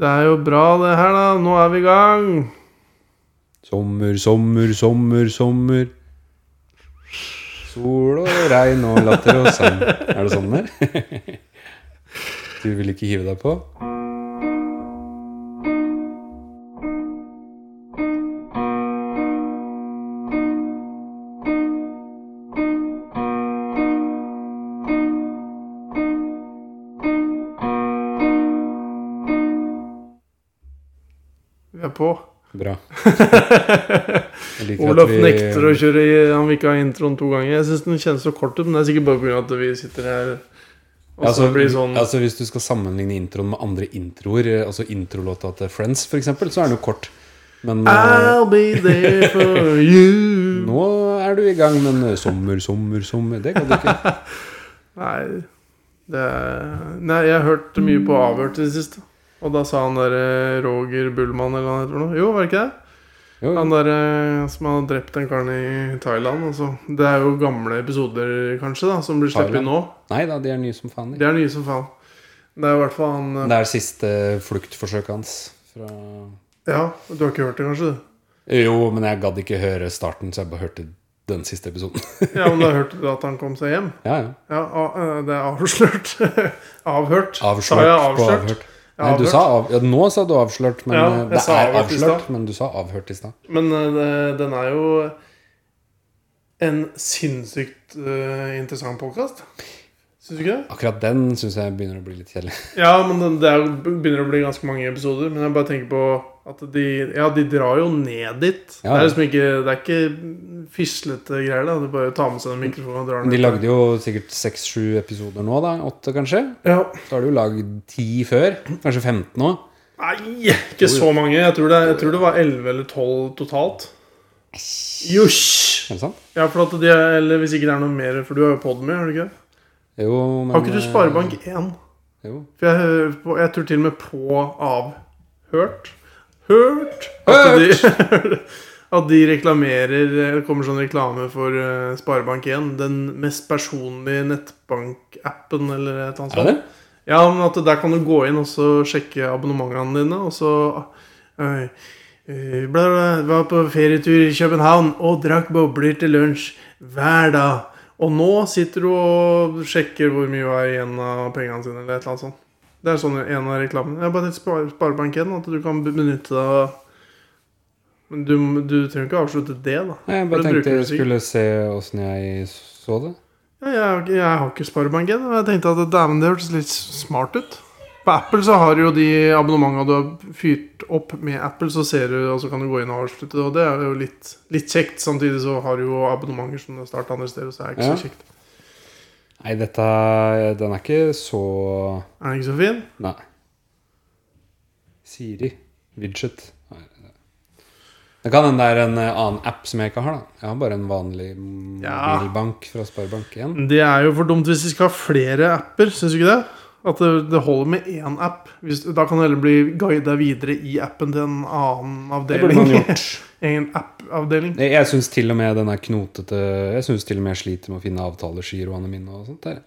Det er jo bra, det her, da. Nå er vi i gang. Sommer, sommer, sommer, sommer. Sol og regn og latter og sang. Er det sånn der? Du vil ikke hive deg på? Vi er på. Bra. Jeg liker at Olaf vi- nekter å kjøre i, Han vil ikke ha introen to ganger. Jeg syns den kjennes så kort ut, men det er sikkert bare pga. at vi sitter her og så Altså, blir det sånn altså Hvis du skal sammenligne introen med andre introer, eh, altså introlåta til Friends f.eks., så er den jo kort. Men eh, I'll be there for you. nå er du i gang, men eh, sommer, sommer, sommer Det kan du ikke. Nei, det er, nei, jeg har hørt mye på Avhørt i det siste. Og da sa han derre Roger Bullmann eller hva han heter for noe. Jo, var det ikke det? Jo, Han derre som har drept den karen i Thailand. Altså. Det er jo gamle episoder, kanskje, da som blir sluppet Thailand? nå. nei da, de er nye som faen. de. Det er nye som faen. Det er i hvert fall han eh, Det er siste fluktforsøket hans. Fra... Ja, du har ikke hørt det, kanskje? du? Jo, men jeg gadd ikke høre starten, så jeg bare hørte den siste episoden. Ja, men du har hørt at han kom seg hjem? ja, ja. Ja, a- eh, det er avslørt. avhørt. Avslørt jeg på avslørt? avhørt. Ja, Nei, avhørt. du sa av... ja, nå sa du avslørt, men Ja, eh, jeg det sa er avhørt i avslørt. Men du sa avhørt i stad. Men eh, det- den er jo en sinnssykt eh, interessant podkast. Syns du ikke det? Akkurat den syns jeg begynner å bli litt kjedelig. Ja, men den- det er, jo- begynner å bli ganske mange episoder. Men jeg bare tenker på at de Ja, de drar jo ned dit. Ja, Det ja. er liksom ikke Det er ikke fislete greier. da Du bare tar med seg den mikrofonen og drar den De ut. lagde jo sikkert seks-sju episoder nå, da. Åtte, kanskje? Ja. Så har du jo lagd ti før. Kanskje 15 nå. Nei, ikke så mange. Jeg tror det, jeg tror det var 11 eller 12 totalt. Josj! Er det sant? Ja, for at de er, eller hvis ikke det er noe mer, for du har jo Podmy, har du ikke? det? Jo, men Har ikke du eh, Sparebank 1? Jo. For jeg, på- jeg tror til og med på av hørt Hørt! At de, at de reklamerer Det kommer sånn reklame for eh, Sparebank1. Den mest personlige nettbankappen eller et eller annet Er det det? Ja, men at der kan du gå inn og så sjekke abonnementene dine, og så øh, øh, bla, bla, Var på ferietur i København og drakk bobler til lunsj hver dag. Og nå sitter du og sjekker hvor mye er igjen av pengene sine, eller et eller annet sånt. Det er sånn en av reklamene. Jeg har bare tenkte sparebanken, at du kan benytte deg av Men du, du trenger ikke avslutte det, da. Nei, jeg For bare det tenkte bruker du jeg skulle se åssen jeg så det. Ja, jeg, har ikke- jeg har ikke sparebanken. Og jeg tenkte at dæven, det hørtes litt smart ut. På Apple så har du jo de abonnementene du har fyrt opp med Apple, så ser du, og så kan du gå inn og avslutte det. Og det er jo litt, litt kjekt. Samtidig så har du jo abonnementer som du har startet andre steder, så er det ikke så Ja. kjekt. Nei, dette eh, Den er ikke så Er den ikke så fin? Nei. Siri. Widget. Nei, det- Det kan hende det er en eh, annen app som jeg ikke har. da Jeg har bare en vanlig Ja. mobilbank fra Sparebank1. Det er jo for dumt hvis vi skal ha flere apper, syns du ikke det? At det, det holder med én app. Hvis, da kan du heller bli guida videre i appen til en annen Det burde man avdeling. gjort. Egen app-avdeling. Jeg, jeg syns til og med den er knotete Jeg synes til og med jeg sliter med å finne avtalegiroene mine og sånt. der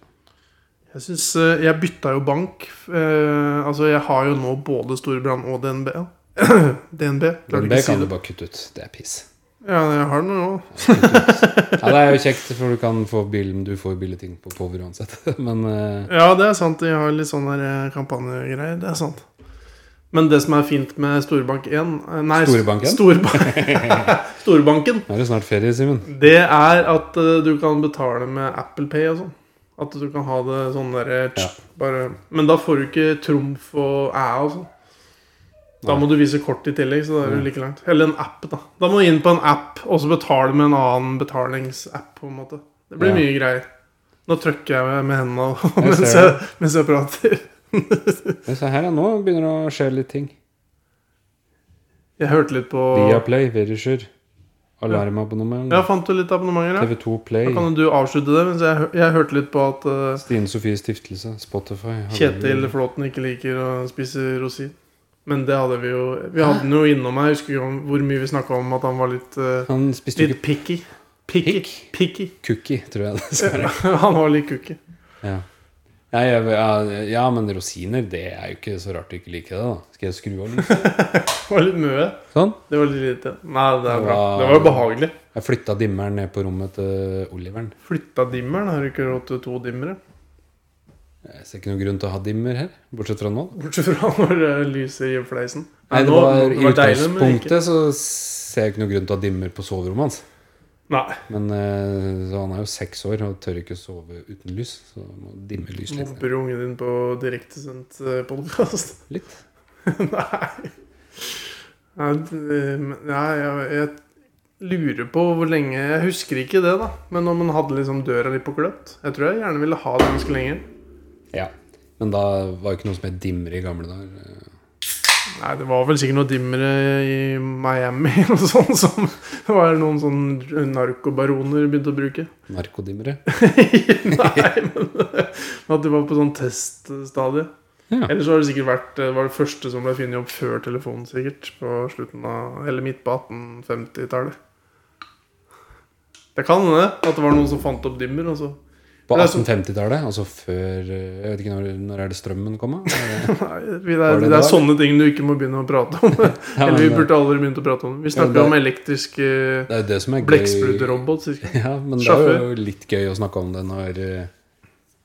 Jeg synes, eh, jeg bytta jo bank. eh, altså, jeg har jo nå både Storebrand og DNB. DNB. Klarer Men ikke å det si kan du det. bare kutte ut. Det er piss. Ja, jeg har det nå. Ja, det er jo kjekt, for du kan få bil, du får jo billige ting på Power uansett. Men eh, Ja, det er sant. De har litt sånne der, eh, kampanjegreier. Det er sant. Men det som er fint med Storbank 1 eh, Nei, Storbanken? Storba- Storbanken. nå er det snart ferie, Simen. Det er at eh, du kan betale med Apple Pay og sånn. At du kan ha det sånn derre Ja. bare- Men da får du ikke trumf og æ og sånn. Da Nei. Mm. må du vise kort i tillegg, så da er du like langt. Eller en app, da. Da må du inn på en app, og så betale med en annen betalingsapp, på en måte. Det blir Ja. mye greier. Nå trykker jeg med- med hendene og- Jeg mens, ser jeg, mens jeg prater. Men Se her, ja. Nå begynner det å skje litt ting. Jeg hørte litt på Viaplay, Verisher, alarmabonnement, Ja, fant du litt abonnementer? Ja? TV2 Da Play, kan jo du avslutte det, mens jeg, hø- jeg hørte litt på at eh, Stine Sofies Stiftelse, Spotify Hallo. Kjetil Flåten ikke liker å spise rosin. Men det hadde vi jo Vi hadde den jo innom her. Jeg husker ikke om hvor mye vi snakka om at han var litt eh, Han spiste jo Litt ikke picky. Picky. pikk. picky. Cookie, tror jeg det han var litt cookie. Ja. Nei, jeg, ja, ja, men rosiner, det er jo ikke så rart du ikke liker det, da. Skal jeg skru av lyset? Det var litt mye. Sånn. Det var litt lite. Nei, det er bra. Wow. Det var behagelig. Jeg flytta dimmeren ned på rommet til Oliveren. Flytta dimmeren. Har du ikke råd til to dimmere? Jeg ser ikke noen grunn til å ha dimmer her, bortsett fra nå. da. Bortsett fra når det lyser i fleisen. Nei, det nå- var, I det deilig, men ikke- utgangspunktet så ser jeg ikke noen grunn til å ha dimmer på soverommet hans. Nei. Men eh, så han er jo seks år og tør ikke sove uten lys, så må dimme lys litt. Mobber ungen din på direktesendt podkast? Litt. Nei. Nei, det- men- nei jeg, jeg lurer på hvor lenge Jeg husker ikke det, da. Men om man hadde liksom døra litt på kløtt. Jeg tror jeg gjerne ville ha det ganske lenge. Ja. Men da var jo ikke noe som het dimmer i gamle dager. eh, Nei, det var vel sikkert noe dimmere i Miami eller noe sånt som det var noen sånn narkobaroner begynte å bruke. Narkodimmere. Nei, men at de var på sånn teststadie. Ja. Ellers har det sikkert vært Det var det første som ble funnet opp før telefonen, sikkert. På slutten av Eller midt på 1850-tallet. Det kan hende at det var noen som fant opp dimmer. altså. Og så På Det er så- 1850-tallet, altså før eh, Jeg vet ikke når, når er det strømmen kom? da? Er det- Nei, vi- det Var er, det det er det? sånne ting du ikke må begynne å prate om. Ja, Eller vi men, eh, burde aldri begynt å prate om det. Vi Ja, men snakker det- om elektriske Det er jo det som er gøy. blekkspruterobot. sikkert. Ja, men det er jo Sjåfør. litt gøy å snakke om det når eh,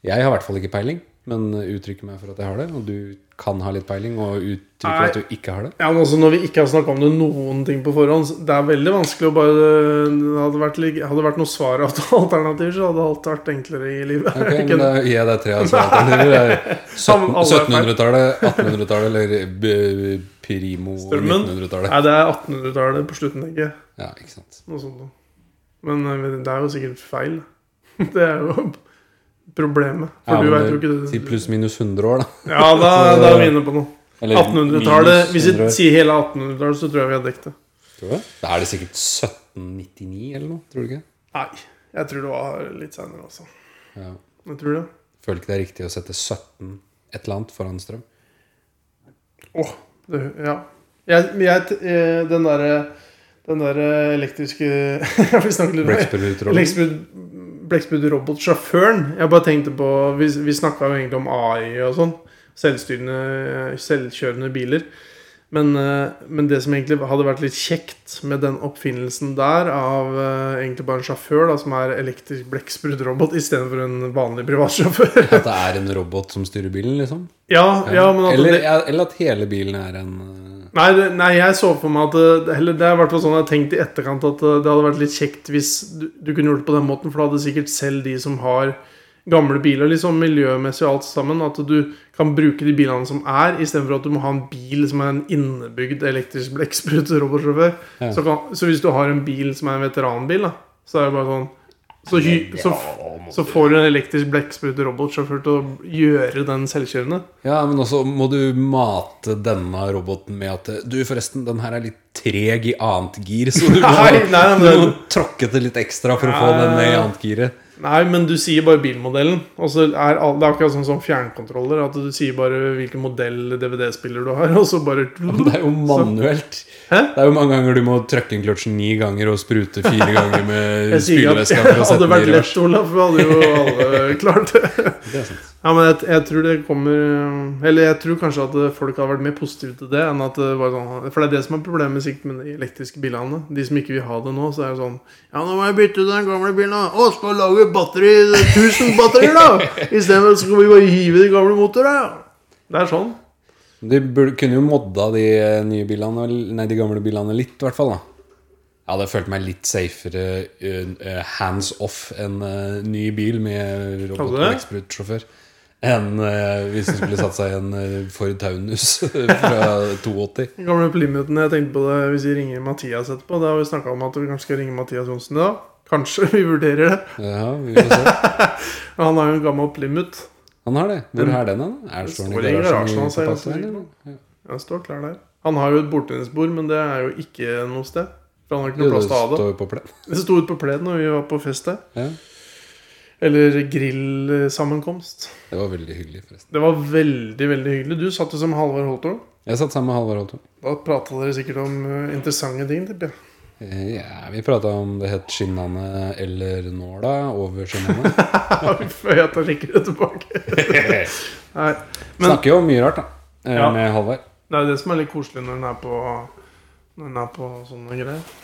Jeg har i hvert fall ikke peiling, men uttrykker meg for at jeg har det. Og du kan ha litt peiling, og uttrykker Nei. at du ikke har det. Ja, men også Når vi ikke har snakka om det noen ting på forhånd så Det er veldig vanskelig å bare det Hadde vært, lik- hadde det vært noe svar av alternativer, så hadde alt vært enklere i livet. Ok, Ikke men da det? gir jeg deg tre altså, alternativer. Det er Sammen, alle er feil. 1700-tallet, 1800-tallet eller b- primo Strømmen. 1900-tallet. Nei, det er 1800-tallet på slutten, tenker jeg. Ja, ikke sant. Noe sånt noe. Men eh, det er jo sikkert feil. Det er jo problemet. For Ja, du men vet jo ikke Si pluss minus 100 år, da. Ja, da, da er vi inne på noe. Eller 1800-tallet minus Hvis vi 100 år. sier hele 1800-tallet, så tror jeg vi har dekket det. Tror du det? Da er det sikkert 1799 eller noe, tror du ikke? Nei. Jeg tror det var litt seinere, altså. Ja. Jeg tror det. Føler ikke det er riktig å sette 17 et eller annet foran strøm. Åh, det, ja. Jeg, men jeg, eh, den derre den der eh, elektriske Jeg vil snakke litt om Blekksprutrådet. Blekksprut- Blekksprut-robotsjåføren. Jeg bare tenkte på Vi, vi snakka jo egentlig om AI og sånn. Selvstyrende, selvkjørende biler. Men, eh, men det som egentlig hadde vært litt kjekt med den oppfinnelsen der, av eh, egentlig bare en sjåfør da, som er elektrisk blekksprut-robot istedenfor en vanlig privatsjåfør At det er en robot som styrer bilen, liksom. ja, ja, men at det- eller, ja, eller at hele bilen er en eh, Nei, det, nei, jeg så for meg at eh, det, eller, det er i hvert fall sånn jeg har tenkt i etterkant at eh, det hadde vært litt kjekt hvis du, du kunne gjort det på den måten, for da hadde sikkert selv de som har gamle biler, liksom miljømessig og alt sammen, at du kan bruke de bilene som er, istedenfor at du må ha en bil som er en innebygd elektrisk blekksprut-robotsjåfør. Ja. Så, kan- så hvis du har en bil som er en veteranbil, da, så er det bare sånn så, hy, så, så får du en elektrisk blekksprut-robotsjåfør til å gjøre den selvkjørende. Ja, men også må du mate denne roboten med at eh, Du, forresten, den her er litt treg i annet gir, så du må, Nei, nei, men- Ah. du må tråkke til litt ekstra for å få Ja, den ned i ja. annet giret. Nei, men du sier bare bilmodellen. Og så er all, Det er akkurat sånn som fjernkontroller. At du sier bare hvilken modell DVD-spiller du har, og så bare Det er jo manuelt. Hæ? Det er jo mange ganger du må trøkke inn kløtsjen ni ganger og sprute fire ganger med Jeg sier ikke at spylevæska det for å sette hadde den i vært revers. lett, Olaf. Vi hadde jo alle klart det. Det er sant. Ja, men jeg, jeg tror det kommer øh, Eller jeg tror kanskje at øh, folk har vært mer positive til det enn at det var sånn For det er det som er problemet sikkert med de elektriske bilene. De som ikke vil ha det nå, så er det sånn Ja, nå må jeg bytte ut den gamle bilen, da. Å, skal jeg lage batteri 1000 batterier, da? Istedenfor skal vi bare hive de gamle motorene. Det er sånn. De burde, kunne jo modda de eh, nye bilene Nei, de gamle bilene litt, i hvert fall. da Jeg hadde følt meg litt safere eh, eh, hands off en eh, ny bil med robot- og Hadde eksprutsjåfør enn eh, hvis du skulle satt seg i en eh, Ford Taunus fra 82. Den gamle Plymouthen, jeg tenkte på det hvis vi ringer Mathias etterpå. Da har vi snakka om at vi kanskje skal ringe Mathias Johnsen i dag. Kanskje vi vurderer det. Ja, vi får se. Men Han har jo en gammel Plymouth. Han har det. Hvor er den, da? Er står Står den i i garasjen garasjen? hans, i jeg Papasveien, tror. eller? Ja. Den står klar der. Han har jo et bordtennisbord, men det er jo ikke noe sted. For han har ikke Jo, noe det plass til å ha det. står jo på plen. Det sto ute på plenen når vi var på fest der. Ja. Eller grillsammenkomst. Det var veldig hyggelig, forresten. Det var veldig, veldig hyggelig. Du satt jo som Halvard Holtålen. Jeg satt sammen med Halvard Holton. Da prata dere sikkert om eh, interessante ting, tipper jeg. Eh, Ja, vi prata om det het skinnene eller nåla over skinnene. Før jeg tar skikkelig tilbake. Nei, men Snakker jo om mye rart, da. eh, Ja. Med Halvard. det er det som er litt koselig når en er på Når en er på sånne greier.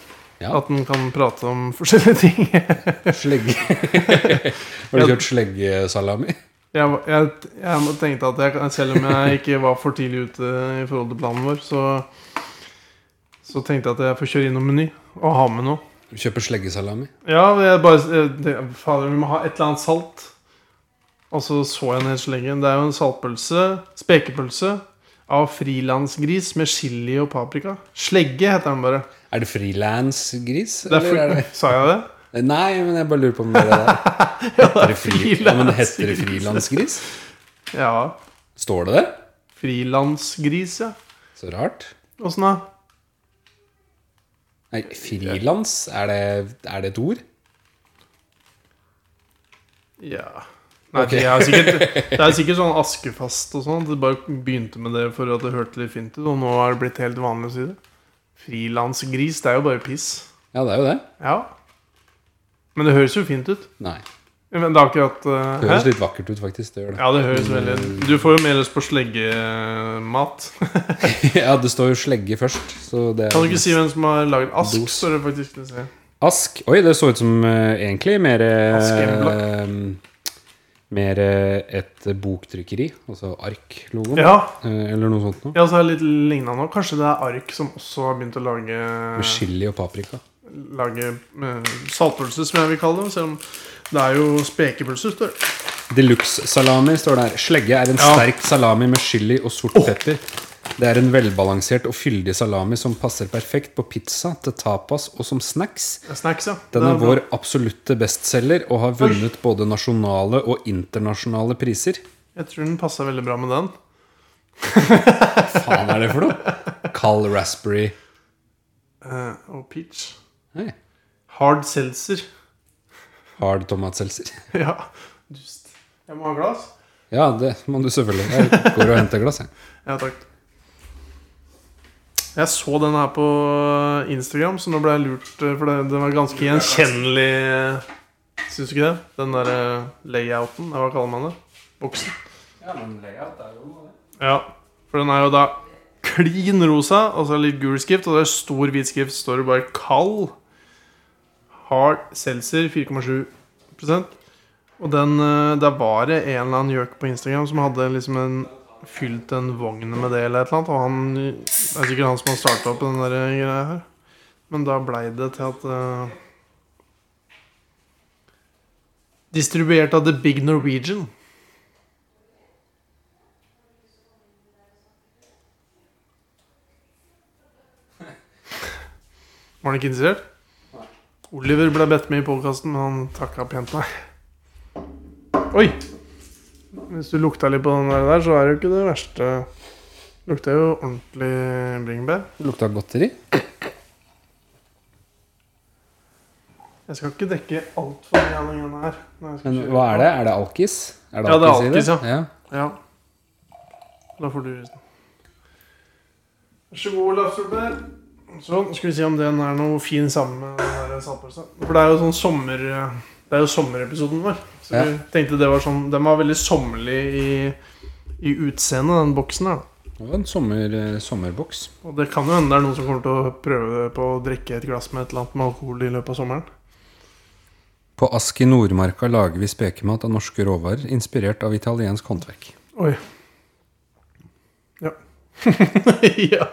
Ja. At en kan prate om forskjellige ting. Slegge. Har du kjørt sleggesalami? Jeg, var- jeg, jeg tenkte at jeg, kan- selv om jeg ikke var for tidlig ute i forhold til planen vår, så Så tenkte jeg at jeg får kjøre innom Meny og ha med noe. Kjøper sleggesalami? Ja, jeg bare jeg, tenkte, Fader, vi må ha et eller annet salt. Og så så jeg en hel slenge. Det er jo en saltpølse, spekepølse, av frilansgris med chili og paprika. Slegge heter den bare. Er det frilansgris? Det er eller er fri, det- sa jeg det? Nei, men jeg bare lurer på om det er det der. Ja, Er det fri- Ja, men heter det frilansgris? Ja. Står det det? Frilansgris, ja. Så rart. Åssen da? Nei, frilans, er det, er det et ord? Ja Nei, Ok. det, er sikkert, det er sikkert sånn askefast og sånn. at Det bare begynte med det for at det hørte litt fint ut, og nå er det blitt helt vanlig å si det. Frilansgris, det er jo bare piss. Ja, det er jo det. Ja. Men det høres jo fint ut. Nei. Men det er akkurat eh, Det høres hæ? litt vakkert ut, faktisk. Det gjør det. Ja, det høres veldig Du får jo mer lyst på sleggemat. Ja, det står jo slegge først, så det er Kan du ikke si hvem som har lagd Ask? Dos. Står det faktisk skal vi se. Ask. Oi, det så ut som eh, egentlig mer eh, mm, Ask Mer eh, et boktrykkeri, altså ARK-logoen, Ja, eh, eller noe sånt noe. ja så er det litt lignende nå. Kanskje det er Ark som også har begynt å lage Med chili og paprika. lage eh, saltpølse, som jeg vil kalle det. Selv om det er jo spekepølse. står det. Deluxe-salami står der. Slegge er en Ja. sterk salami med chili og sort pepper. Det er en velbalansert og fyldig salami som passer perfekt på pizza, til tapas og som snacks. Det er Snacks, ja. Den Det er bra. vår absolutte bestselger og har vunnet både nasjonale og internasjonale priser. Jeg tror den passa veldig bra med den. Hva faen er det for noe? Kald raspberry Eh, og peach. Nei. Hard seltzer. Hard tomatselser. ja. Dust. Jeg må ha glass. Ja, det må du selvfølgelig. Jeg går og henter glass, jeg. Ja, takk. Jeg så den her på eh, Instagram, så nå ble jeg lurt. eh, For det, den var ganske gjenkjennelig. eh, Syns du ikke det? Den derre layouten. eller Hva kaller man det? Boksen. Ja, men layout er jo det. Ja, for den er jo da klin rosa, og så litt gul skrift, og det er stor hvit skrift, står det bare kald. Hard Seltzer 4,7 Og den, eh, der var det en eller annen gjøk på Instagram som hadde liksom en fylt en vogn med det eller et eller annet, og han Det er sikkert han som har starta opp den der greia her. Men da blei det til at eh, Distribuert av The Big Norwegian. Var han ikke interessert? Oliver ble bedt med i podkasten, men han takka pent nei. Oi! Hvis du lukta litt på den der, der, så er det jo ikke det verste. Lukter jo ordentlig bringebær. Lukta godteri. Jeg skal ikke dekke altfor mye av den greia her. når jeg skal Men kjøre. hva er det? Er det alkis? Er Ja, det er i alkis, ja. Ja. Da får du resten. Vær så god, Olaf Solberg. Sånn, skal vi se om den er noe fin sammen med den der saltpølsa. For det er jo sånn sommer... Det er jo sommerepisoden vår. Så Ja. vi tenkte det var sånn... Den var veldig sommerlig i, i utseendet, den boksen her. da. Det var en sommer, eh, sommerboks. Og det kan jo hende det er noen som kommer til å prøve på å drikke et glass med et eller annet med alkohol i løpet av sommeren. På Ask i Nordmarka lager vi spekemat av norske råvarer, inspirert av italiensk håndverk. Oi. Ja. ja.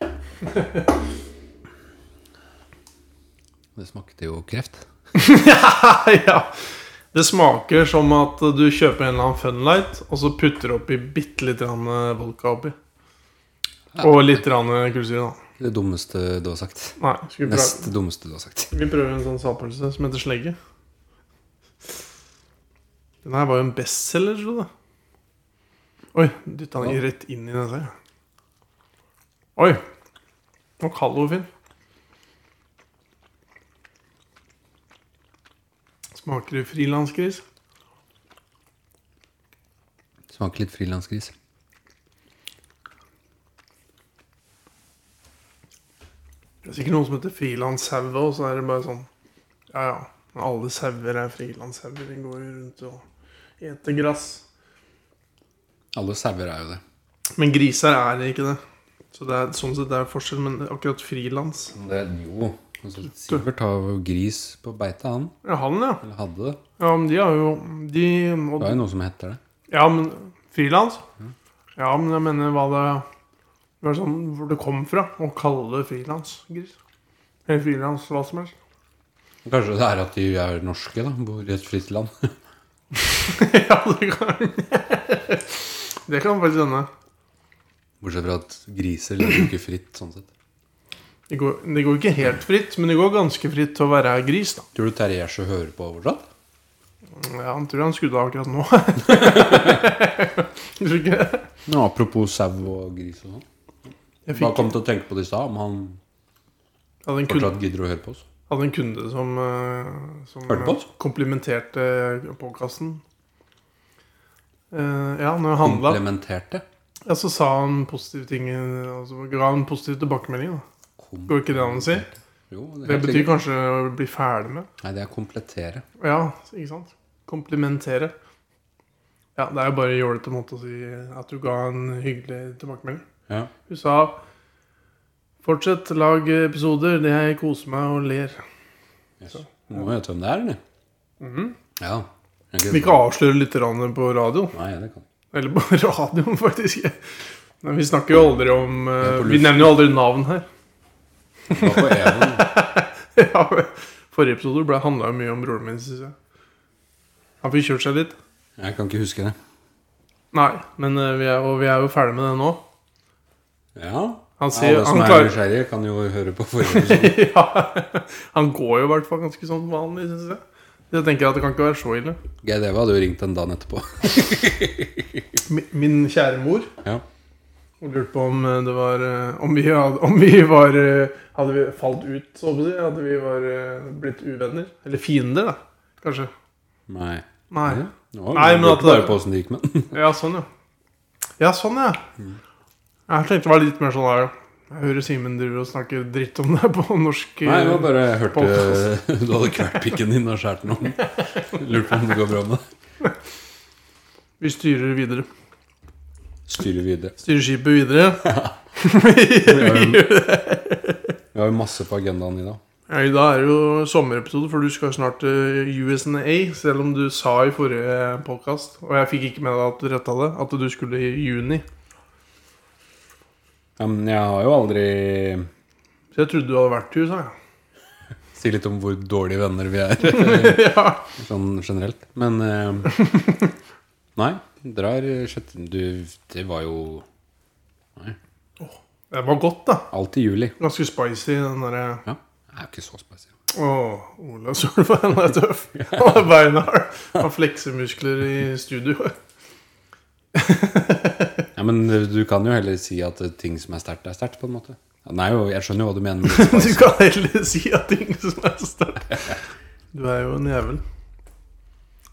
Det smakte jo kreft. ja. Det smaker som at du kjøper en eller annen Funlight, og så putter du oppi bitte litt grann eh, vodka oppi. Og litt grann eh, kullsyre, da. Det dummeste du har sagt. Nei, skal vi prøve, Nest dummeste du har sagt. vi prøver en sånn saltpølse som heter slegge. Den her var jo en bestselger, tror jeg. Oi, dytta den rett inn i den der. Oi. Og kald og fin. Smaker det frilansgris? Smaker litt frilansgris. sikkert noen som heter frilanshaue, og så er det bare sånn Ja, ja. Alle sauer er frilanshauer. De går jo rundt og eter gress. Alle sauer er jo det. Men griser er ikke det. Så det er sånn sett det er forskjell, men akkurat frilans det jo. Altså, Sivert har jo gris på beite, han. Ja, han, ja. Eller hadde det. Ja, men de har jo De og, Det er jo noe som heter det. Ja, men frilans? Ja, men jeg mener hva det hva er sånn, Hvor det kom fra å kalle det frilansgris. Eller frilans hva som helst. Kanskje det er at de er norske, da. Bor i et fritt land. ja, det kan Det kan faktisk hende. Bortsett fra at griser lever jo ikke fritt, sånn sett. Det går, det går ikke helt fritt, men det går ganske fritt til å være gris, da. Tror du Terje Gjersø hører på fortsatt? Ja, han tror han skrudde av akkurat nå. Tror du ikke det? Ja, apropos sau og gris og sånn. Jeg Bare fikk, kom til å tenke på det i stad, om han jeg hadde en kunde, fortsatt gidder å høre på oss. hadde en kunde som, eh, som Hørte på oss? eh, komplimenterte podkasten. Eh, ja, når jeg handla, Komplementerte. ja, så sa han positive ting. eh, Altså, ga han positiv tilbakemelding. da Går ikke det an å si? Jo, det, Det er helt betyr sikkert. kanskje å bli ferdig med. Nei, det er komplettere. Ja, ikke sant? Komplimentere. Ja, det er jo bare en jålete måte å si at du ga en hyggelig tilbakemelding. Ja. Hun sa Fortsett, lag episoder. Det jeg koser meg og ler. Yes. Du må vite hvem det er, eller? Mhm. Ja. Jeg Vi kan avsløre litt grann på radio. Nei, det kan Eller på radioen, faktisk. Men vi snakker jo aldri om eh, på Vi luften. nevner jo aldri navn her. Det var på Even. Ja, Forrige episode ble handla mye om broren min, syns jeg. Han fikk kjørt seg litt. Jeg kan ikke huske det. Nei, men eh, vi er, og vi er jo ferdig med det nå. Ja. Han ja, sier alle som han er klarer nysgjerrige, kan jo høre på forrige episode. ja, Han går jo i hvert fall ganske sånn vanlig, syns jeg. Så jeg tenker at det kan ikke være så ille. Geir Deva hadde jo ringt en dag etterpå. Min, min kjære mor Ja. hun lurte på om eh, det var eh, Om vi, hadde, om vi var eh, Hadde vi falt ut, så å si? Hadde vi var, eh, blitt uvenner? Eller fiender, da. Kanskje. Nei. Nei. Ja. Nå, Nei, men at lurte bare det- på åssen det gikk med den. Ja, sånn, ja. Ja, sånn, ja. Mm. Jeg tenkte det var litt mer sånn der Jeg hører Simen driver og snakker dritt om deg på norsk eh, Nei, jeg var bare jeg Podcast. hørte du hadde kvalt pikken din og skåret noen. Lurte på om det går bra med deg. Vi styrer videre. Styrer videre. Styrer skipet videre. Vi har jo masse på agendaen i dag. Ja, I dag er det jo sommerepisode, for du skal jo snart eh, til USNA. Selv om du sa i forrige podkast, og jeg fikk ikke med deg at du retta det, at du skulle i juni. Ja, men jeg har jo aldri Så jeg trodde du hadde vært i USA. Si litt om hvor dårlige venner vi er, jeg. ja. sånn generelt. Men eh, Nei. Drar sjette... Du, det var jo Det var godt, da. alt i juli. Ganske spicy, den eh, derre Ja. Det er jo ikke så spesielt. Å, Ola Solveig, han er tøff. Han er beinhard. Har fleksemuskler i studio. Ja, men du kan jo heller si at ting som er sterkt, er sterkt, på en måte. Ja, Nei, jo, jeg skjønner jo hva du mener. Med Du litt spice. kan heller si at ting som er sterkt. Du er jo en jævel.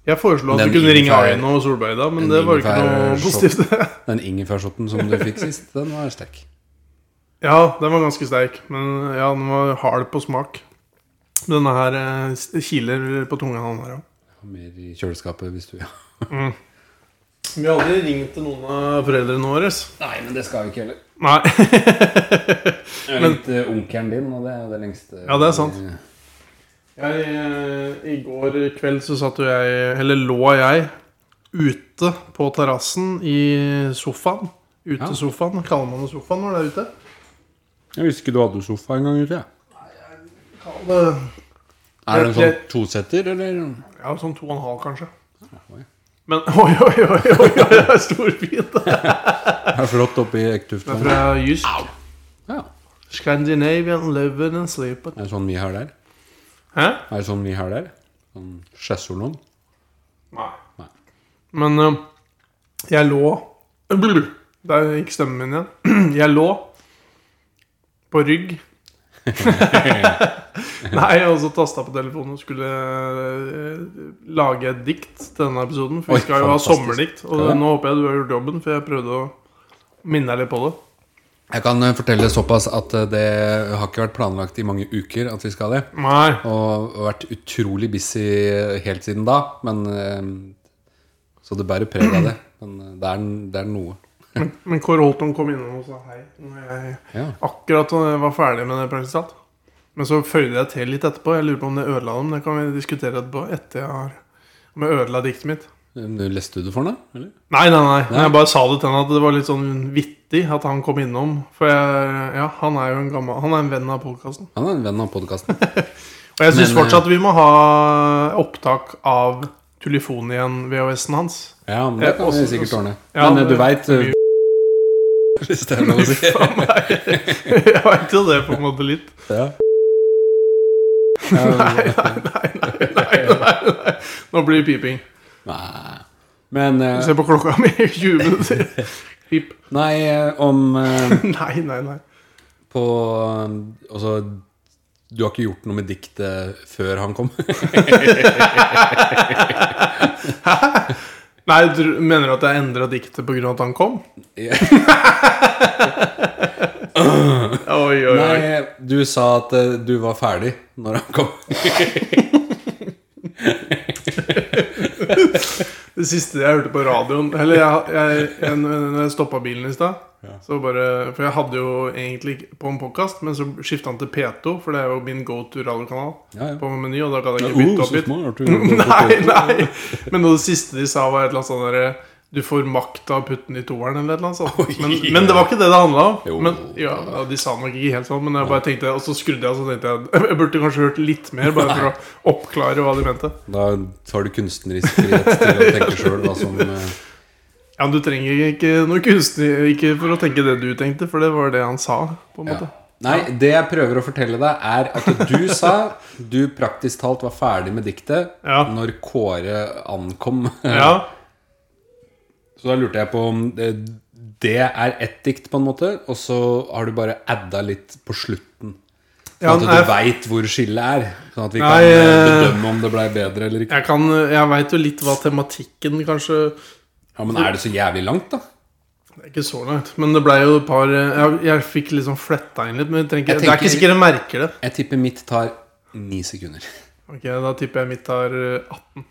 Jeg foreslo at Den du kunne ringe ingefær- Aino og Solberg i dag, men den det var ikke ingefær- noe positivt. den ingefærshotten som du fikk sist, den var sterk. Ja, den var ganske sterk. Men ja, den var hard på smak. Men Denne her eh, s- kiler på tunga. Han her, ja. Og Mer i kjøleskapet hvis du Vi har aldri ringt til noen av foreldrene våre. Nei, men det skal vi ikke heller. Nei. Jeg Men- ringte onkelen din, og det er jo det lengste Ja, det er sant. Jeg, eh, I går kveld så satt jo jeg, eller lå jeg, ute på terrassen i sofaen. Ja. Utesofaen. Kaller man det sofaen når det er ute? Jeg visste ikke du hadde sofa en gang ute. jeg. Kall det Er det en sånn Jeg- tosetter, eller? ja, sånn to og en halv, kanskje. oi. Men oi, oi, oi, oi, oi, det er storfint! Det Det er flott oppe i Ektuft. er fra Jysk. Ja. Scandinavian living and sleeping. Er det sånn vi har der? Hæ? Er det sånn vi har der? Sånn Skjessolon? Nei. Nei. Men ø, jeg lå Der gikk stemmen min igjen. Jeg lå på rygg. Nei, og så tasta på telefonen og skulle ø, lage et dikt til denne episoden. For Oi, vi skal jo ha fantastisk. sommerdikt. Og Ja. nå håper jeg du har gjort jobben, for jeg prøvde å minne deg litt på det. Jeg kan eh, fortelle såpass at eh, det har ikke vært planlagt i mange uker at vi skal det. Nei. Og vært utrolig busy helt siden da. Men eh, Så det bærer preg av det. Men eh, det er, det er noe. Men, men Kåre Holton kom innom og sa hei. Når jeg Ja. akkurat eh, var ferdig med det praktisatt. Men så føyde jeg til litt etterpå. Jeg lurer på om det ødela dem. Det kan vi diskutere etterpå. Etter jeg har Om jeg ødela diktet mitt. Men du Leste du det for den, da? Eller? Nei, nei, nei. Nei. Jeg bare sa det til henne at det var litt sånn vittig at han kom innom. For jeg, ja, han er jo en gammel Han er en venn av podkasten. Han er en venn av podkasten. Og jeg syns Men, eh, fortsatt vi må ha opptak av telefonen igjen, VHS-en hans. Ja, men det Ja, kan vi også- sikkert ordne. Ja, men eh, du det- veit Hvis det er lov å si. Jeg veit jo det, på en måte, litt. Ja. Nei, nei, nei, nei, nei, nei, nei. Nå blir det piping. Nei. Men eh, Se på klokka mi. 20 minutter. Pip. Nei, eh, om eh, Nei, nei, nei. på eh, Altså, du har ikke gjort noe med diktet før han kom? Nei, du Mener du at jeg endra diktet pga. at han kom? Ja. Oi, oi, oi. Nei, du sa at eh, du var ferdig når han kom. Det siste jeg hørte på radioen Eller jeg, jeg, jeg, når jeg stoppa bilen i stad Så bare For jeg hadde jo egentlig ikke på en podkast, men så skifta han til P2, for det er jo min go to radiokanal Ja, ja. på meny, og da kan jeg ikke Oh, bytte så opp litt. smart. Nei, nei. Men noe av det siste de sa, var et eller annet sånn derre Du får makta av putten i toeren, eller et eller annet sånt. Men, men det var ikke det det handla om. Jo. Men, ja, ja, de sa nok ikke helt sånn, men jeg bare tenkte Og så skrudde jeg, og så tenkte jeg Jeg burde kanskje hørt litt mer, bare for å oppklare hva de mente. Da tar du kunstnerisk frihet til å tenke sjøl hva som eh, Ja, men Du trenger ikke noe kunstner Ikke for å tenke det du tenkte, for det var det han sa. på en ja. måte Nei, det jeg prøver å fortelle deg, er at du sa du praktisk talt var ferdig med diktet Ja. når Kåre ankom. Ja, Så da lurte jeg på om det, det er ett dikt, på en måte, og så har du bare adda litt på slutten. Sånn ja at nei, du veit hvor skillet er. Sånn at vi Nei, kan eh, eh, bedømme om det blei bedre eller ikke. Jeg, kan- jeg veit jo litt hva tematikken kanskje Ja, Men er det så jævlig langt, da? Det er ikke så langt, men det blei jo et par Jeg, jeg fikk liksom fletta inn litt, men jeg trenger, Jeg ikke- det er ikke tenker- sikkert jeg merker det. Jeg tipper mitt tar ni sekunder. Ok, Da tipper jeg mitt har eh, 18.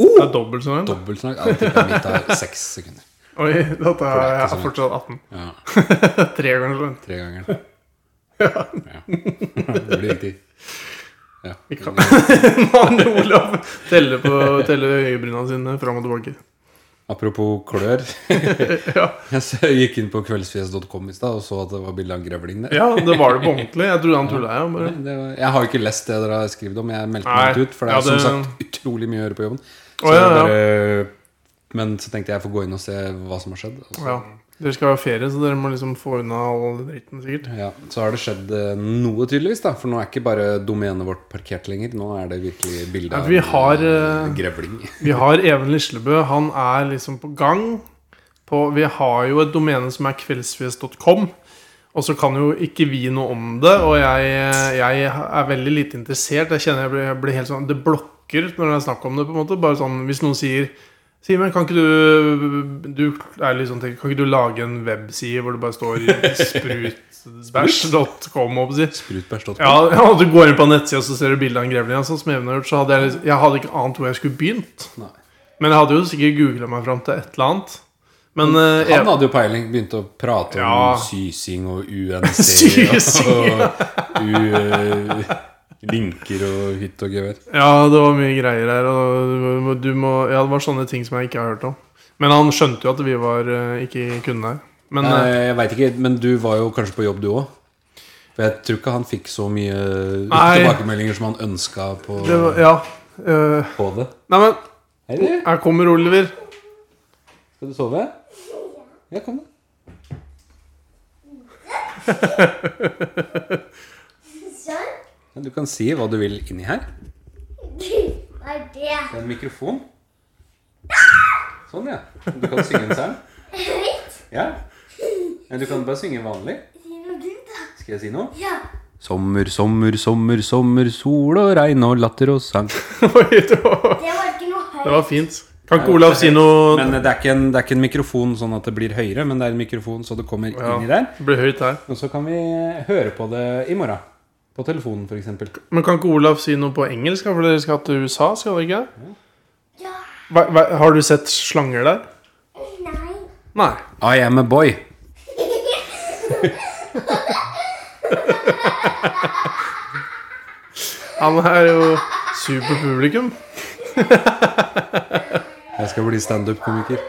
Oh! Det er dobbelt så langt. Dobbelt så langt. Ja, jeg tipper mitt tar seks sekunder. Oi, da tar jeg, jeg så har fortsatt 18. Ja, Tre ganger så langt. Tre ganger. Ja. Det blir riktig. Ja. Vi kan- Han Olav teller på teller øyebryna sine fram og tilbake. Apropos klør. Ja. Jeg så- gikk inn på kveldsfjes.com i stad og så at det var bilde av en grevling der. ja, det var det på ordentlig. Jeg trodde han tulla, jeg. Bare. Det var, jeg har jo ikke lest det dere har skrevet om. Jeg meldte Nei. meg ikke ut, for det Ja, er som det- sagt utrolig mye å gjøre på jobben. Så Å, ja, ja. jeg bare, men så tenkte jeg jeg får gå inn og se hva som har skjedd. og så- Ja. Dere skal ha ferie, så dere må liksom få unna all dritten, sikkert. Ja, så har det skjedd eh, noe, tydeligvis. da For nå er ikke bare domenet vårt parkert lenger. Nå er det virkelig bilde Ja, av vi har, en, eh, eh, grevling. Vi har Even Lislebø. Han er liksom på gang. På, vi har jo et domene som er kveldsfjes.com. Og så kan jo ikke vi noe om det, og jeg, jeg er veldig lite interessert. Jeg kjenner jeg blir, jeg blir helt sånn Det blokker når det er snakk om det, på en måte. Bare sånn hvis noen sier Simen, kan ikke du, du er litt sånn, tenker, Kan ikke du lage en webside hvor det bare står sprutbæsj.com? holdt på å si. Sprutbæsj.com. Ja, ja, du går inn på nettsida og så ser du bilde av en grevling. ja, Sånn som Even har gjort, så hadde jeg, litt- jeg hadde ikke ant hvor jeg skulle begynt. Nei. Men jeg hadde jo sikkert googla meg fram til et eller annet. Men eh, Mm. Han jeg, hadde jo peiling. Begynte å prate om Ja. sysing og UNC Sysing, og u, eh, linker og hytt og gevær. ja, det var mye greier her. Og du må, ja, det var sånne ting som jeg ikke har hørt om. Men han skjønte jo at vi var eh, ikke kunne her. Men Nei, eh, jeg vet ikke, men du var jo kanskje på jobb, du òg? For jeg tror ikke han fikk så mye Nei. tilbakemeldinger som han ønska på, det var Ja. eh, på det. nei, men Hei, du. her kommer Oliver. Skal du sove? Ja, kom, da. Sånn. Ja, Du kan si hva du vil inni her. Hva er det? Det er en mikrofon. Sånn, ja. Du kan synge en sang. Høyt? Ja. Men du kan bare synge vanlig. Si noe du, da. Skal jeg si noe? Ja. Sommer, sommer, sommer, sommer, sol og regn og latter og sang. Oi, det var, Det var ikke noe høyt. det var fint. Kan ikke Olav si noe Men det er, ikke en, det er ikke en mikrofon sånn at det blir høyere, men det er en mikrofon så det kommer Ja, inn i der. det blir høyt her. Og så kan vi høre på det i morgen. På telefonen, f.eks. Men kan ikke Olav si noe på engelsk? da? For dere skal til USA, skal dere ikke? det? Ja. Hva, hva, har du sett slanger der? Nei. Nei. I am a boy. Han er jo superpublikum. Jeg skal bli standup-komiker.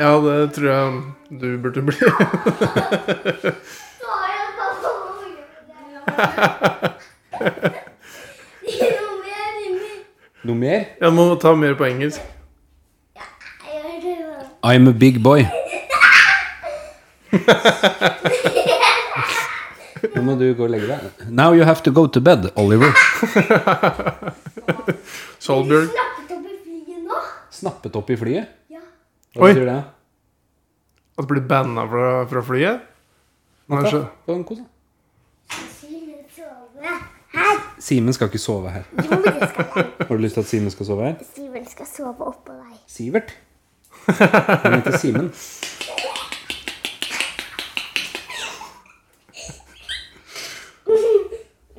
Ja, det tror jeg du burde bli. Da er jeg bare på Noe mer inni. Noe mer? Jeg må ta mer på engelsk. Jeg gjør det jo. I'm a big boy. Nå må du gå og legge deg. Now you have to go to bed, Oliver. Solbjørg. Snappet opp i flyet nå. Snappet opp i flyet? Ja. Hva Oi. betyr det? At du blir banna fra, fra flyet? Kanskje. Få en kos, da. Simen sove. Her. Simen skal ikke sove her. Jo, men det skal jeg. Har du lyst til at Simen skal sove her? Simen skal sove oppå deg. Sivert. Han heter Simen.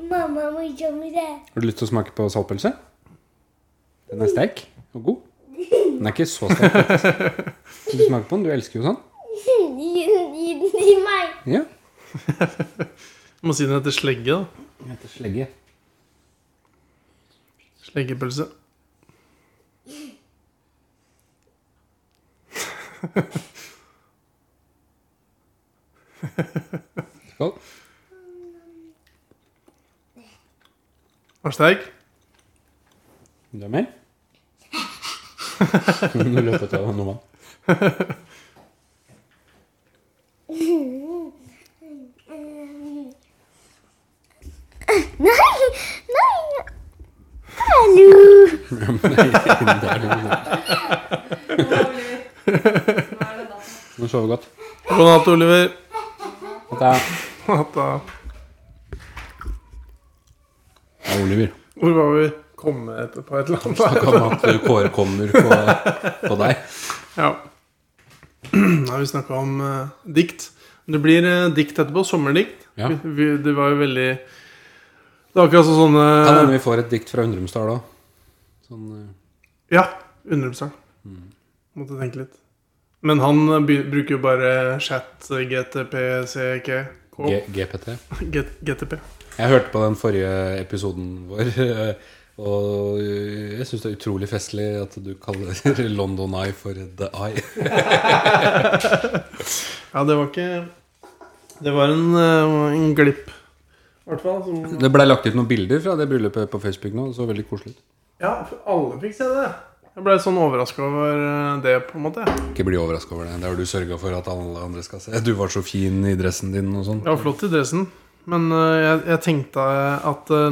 Mamma må gjemme det. Har du lyst til å smake på saltpølse? Den er sterk og god. Den er ikke så sterk. faktisk. Vil du smake på den? Du elsker jo sånn. Gi den gi den til meg. Ja. Må si den heter slegge, da. Den heter slegge. Sleggepølse. Skål. Var sterk? Vil du ha mer? Nå løp jeg til noe vann. Ehm, Nei! Nei! Hallo! Nå sover jeg godt. God natt, Oliver. Dette er Natt, da. Det er Oliver. Hvor var vi? Komme etterpå et eller annet? Snakk om at Kåre kommer på, på deg. Ja. Da har vi snakka om eh, dikt. Det blir eh, dikt etterpå. Sommerdikt. Ja. Vi, vi, det var jo veldig Det var akkurat sånn sånne Kan hende vi får et dikt fra Undrumsdal òg. Sånn, eh, Ja. Underbesang. Måtte tenke litt. Men han eh, by- bruker jo bare chat eh, GTPCK. K. G- GPT. G- GTP. Jeg hørte på den forrige episoden vår, og jeg syns det er utrolig festlig at du kaller London Eye for The Eye. Ja, det var ikke Det var en, eh, en glipp, i hvert fall. Som, Det blei lagt ut noen bilder fra det bryllupet på Facebook nå. Det så veldig koselig ut. ja, for alle fikk se det. Jeg ble sånn overraska over eh, det, på en måte. Ikke bli overraska over det. Det har du sørga for at alle andre skal se. Du var så fin i dressen din og sånn. Ja, flott i dressen. Men øh, jeg, jeg tenkte at, øh,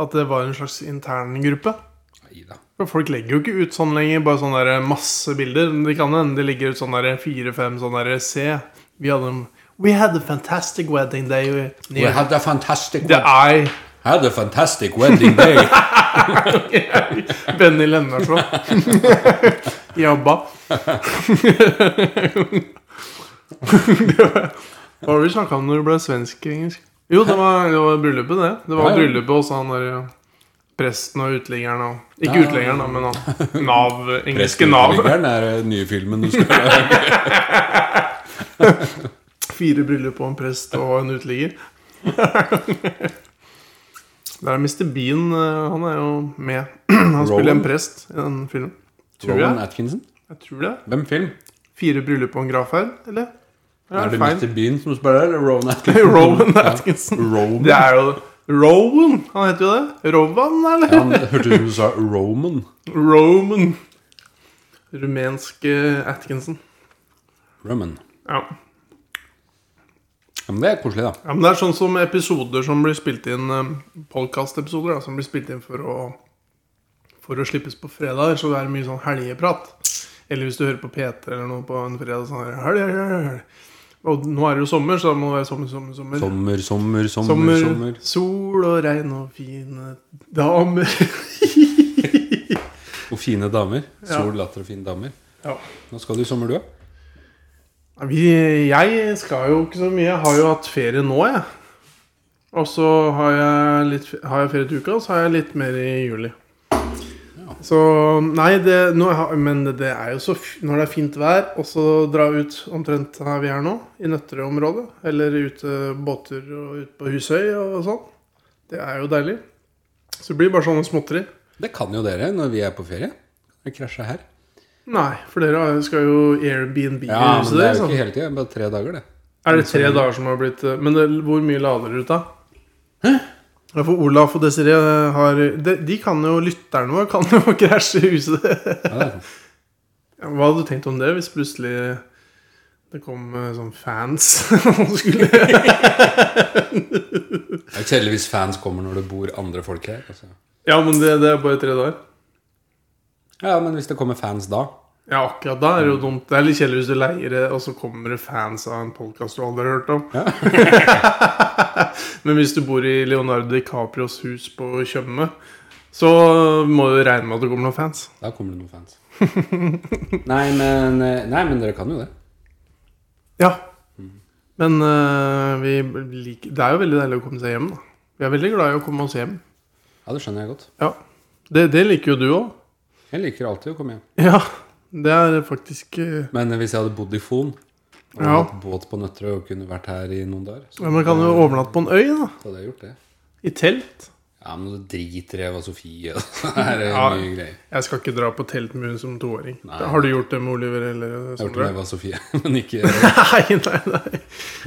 at det var en slags interngruppe. Neida. For folk legger jo ikke ut sånn lenger, bare sånn der masse bilder. Men Det kan hende de legger ut sånn der fire-fem sånn der Se, vi hadde en We had a fantastic wedding day. We had a fantastic, Det er had a fantastic wedding day. Benny Lennartson. Jabba. Hva var det vi snakka om når du ble svensk-engelsk? Jo, det var, det var bryllupet, det. Det var Ja, ja. bryllupet og så han der ja, presten og uteliggeren og Ikke Ja. uteliggeren, da, men han Nav. Engelske Nav. Presteuteliggeren er eh, nye filmen du skal ha. Fire bryllup og en prest og en uteligger. Der er Mr. Bean. eh, Han er jo med. Han spiller en Rowan? prest i den filmen. Tror Rowan jeg. Atkinson? Jeg tror det. Hvem film? Fire bryllup og en graf her, eller? Ja, Er det feil. Mr. Bean som spiller, eller Rowan Atkinson? Rowan Atkinson. Rowan. Det er jo Rowan, han heter jo det. Rowan, eller? Han hørte ut som du sa Roman. Roman. Rumenske Atkinson. Roman. Ja. Ja, men det er koselig, da. ja, men Det er sånn som episoder som blir spilt inn eh, Podcast-episoder da, som blir spilt inn for å For å slippes på fredager, så det er mye sånn helgeprat. Eller hvis du hører på P3 eller noe på en fredag sånn her, helg, helg, helg. Og nå er det jo sommer, så da må det være sommer, sommer, sommer. Sommer, sommer, sommer. Sommer, sommer. sol og regn og fine damer. fine damer. Ja. Sol, latter og fine damer. Ja. Nå skal du i sommer, du òg. Ja, Vi, jeg skal jo ikke så mye. Jeg har jo hatt ferie nå, jeg. Og så har jeg, litt, har jeg ferie til uka, og så har jeg litt mer i juli. Så Nei, det, nå, har- men det er jo så f- Når det er fint vær, og så dra ut omtrent her vi er nå, i Nøtterøy-området. Eller ute båter og ut på Husøy og sånn. Det er jo deilig. Så det blir bare sånne småtteri. Det kan jo dere når vi er på ferie. Vi krasjer her. Nei, for dere har- skal jo Airbnb i Ja, huset men det er deres. jo da. ikke hele tida. Bare tre dager, det. Er det tre dager som har blitt eh, Men det, hvor mye lader dere ut, da? Ja, for Olaf og Desiree eh, har de, de kan jo, lytterne våre kan jo krasje i huset. Ja, det er sånn. sant. Ja, Hva hadde du tenkt om det hvis plutselig det kom eh, sånn fans og skulle Det er kjedelig hvis fans kommer når det bor andre folk her. Altså. Ja, men det, det er bare tre dager. Ja, men hvis det kommer fans da Ja, akkurat da er det jo dumt. Det er litt kjedelig hvis du leier det, og så kommer det fans av en podkast du aldri har hørt om. men hvis du bor i Leonardo DiCaprios hus på Tjøme, så må du regne med at det kommer noen fans. Da kommer det noen fans. Nei, men, eh, nei, men dere kan jo det. Ja. Men eh, vi liker Det er jo veldig deilig å komme seg hjem, da. Vi er veldig glad i å komme oss hjem. Ja, det skjønner jeg godt. Ja. Det, det liker jo du òg. Jeg liker alltid å komme hjem. Ja. Det er faktisk eh, Men hvis jeg hadde bodd i Fon og Ja. hatt båt på Nøtterøy og kunne vært her i noen dager, så ja, Man kan jo overnatte på en øy, da. hadde jeg gjort det. I telt. Ja, men du driter i Eva Sofie og det er Ja. mye greier. Jeg skal ikke dra på teltmur som toåring. Nei. Har du gjort det med Oliver eller Jeg har gjort det Sondre? med Eva Sofie, men ikke Nei, nei, nei.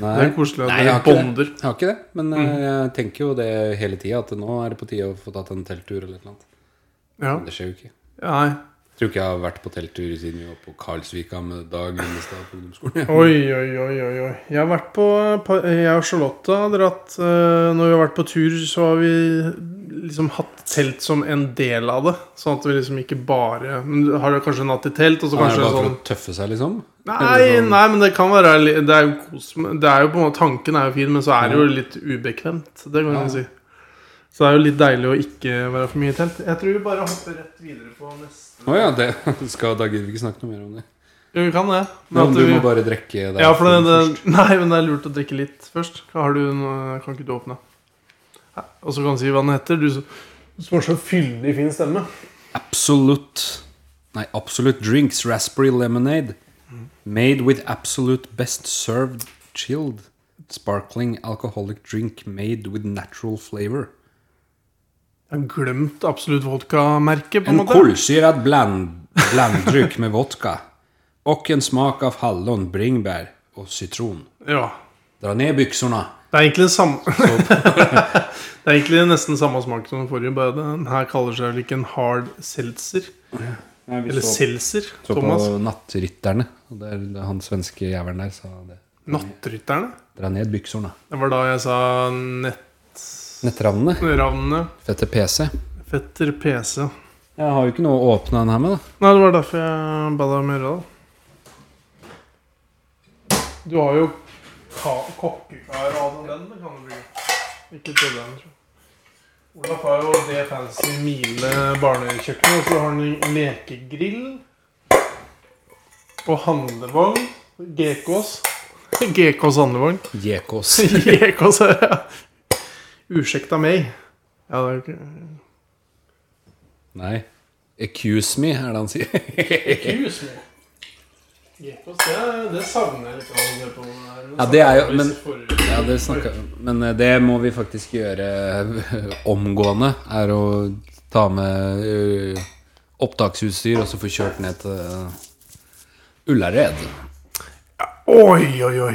Nei. Det er koselig at dere Nei, jeg har ikke det. bonder. Mm. Jeg har ikke det, men eh, jeg tenker jo det hele tida at nå er det på tide å få tatt en telttur eller noe annet. Ja. Men det skjer jo ikke. nei. Jeg tror ikke jeg har vært på telttur siden vi var på Karlsvika med Dag Lindestad på ungdomsskolen. Oi, oi, oi, oi. oi. Jeg har vært på på- Jeg og Charlotte har dratt eh, Når vi har vært på tur, så har vi liksom hatt telt som en del av det. Sånn at vi liksom ikke bare Men du har jo kanskje en natt i telt, og så Han er det kanskje bare for sånn å tøffe seg, liksom? Nei, nei, men det kan være li- Det er jo kos med- Det er jo på en måte Tanken er jo fin, men så er det jo litt ubekvemt. Det kan Ja. man si. Så det er jo litt deilig å ikke være for mye i telt. Jeg tror vi bare hopper rett videre på neste Å ja, det skal Dag Gidder ikke snakke noe mer om det. Jo, vi kan det. Men at du vi- må bare drikke deg Ja, for det, full først. det, nei, men det er lurt å drikke litt først. Har du noe, kan ikke du åpne? Ja, Og så kan du si hva den heter. Du som- som har så fyldig fin stemme. Absolute Nei, Absolute Drinks Raspberry Lemonade. Made with absolute best served chilled sparkling alcoholic drink made with natural flavor. Jeg har glemt absolutt vodka-merket, på en En måte. kolsyrad bland, blanddryck med vodka. Och en smak av hallon, bringebär och citron. Ja. Dra ner byxorna. Det er egentlig samme Det er egentlig nesten samme smak som den forrige, bare den her kaller seg vel ikke en hard seltzer. Eller seltzer, Så Thomas. på Nattrytterne. Og der, han svenske jævelen der sa det. Nattrytterne. Dra ned byxorna. Det var da jeg sa nett... Nettravnene. Ravnene. Fette PC. Fetter PC. Jeg har jo ikke noe å åpne den her med, da. Nei, det var derfor jeg ba deg om å gjøre det. Du har jo ka- kokkekar og all den den, det kan du bruke. Ikke problem, tror jeg. Olaf har jo det fancy Mile barnekjøkkenet, og så har han en lekegrill. Og handlevogn. GKs. GKs handlevogn. JKs. GKs, ja. Ursäkta meg. Ja, det er jo ikke Nei. Accuse me, er det han sier. Hus med Gekos, det, det savner jeg litt av å se på den her. Ja, det er jo- savner jeg litt forrige- Ja, det snakka Men eh, det må vi faktisk gjøre eh, omgående. Er å ta med eh, opptaksutstyr og så få kjørt ned til eh, Ullared. Oi, oi, oi.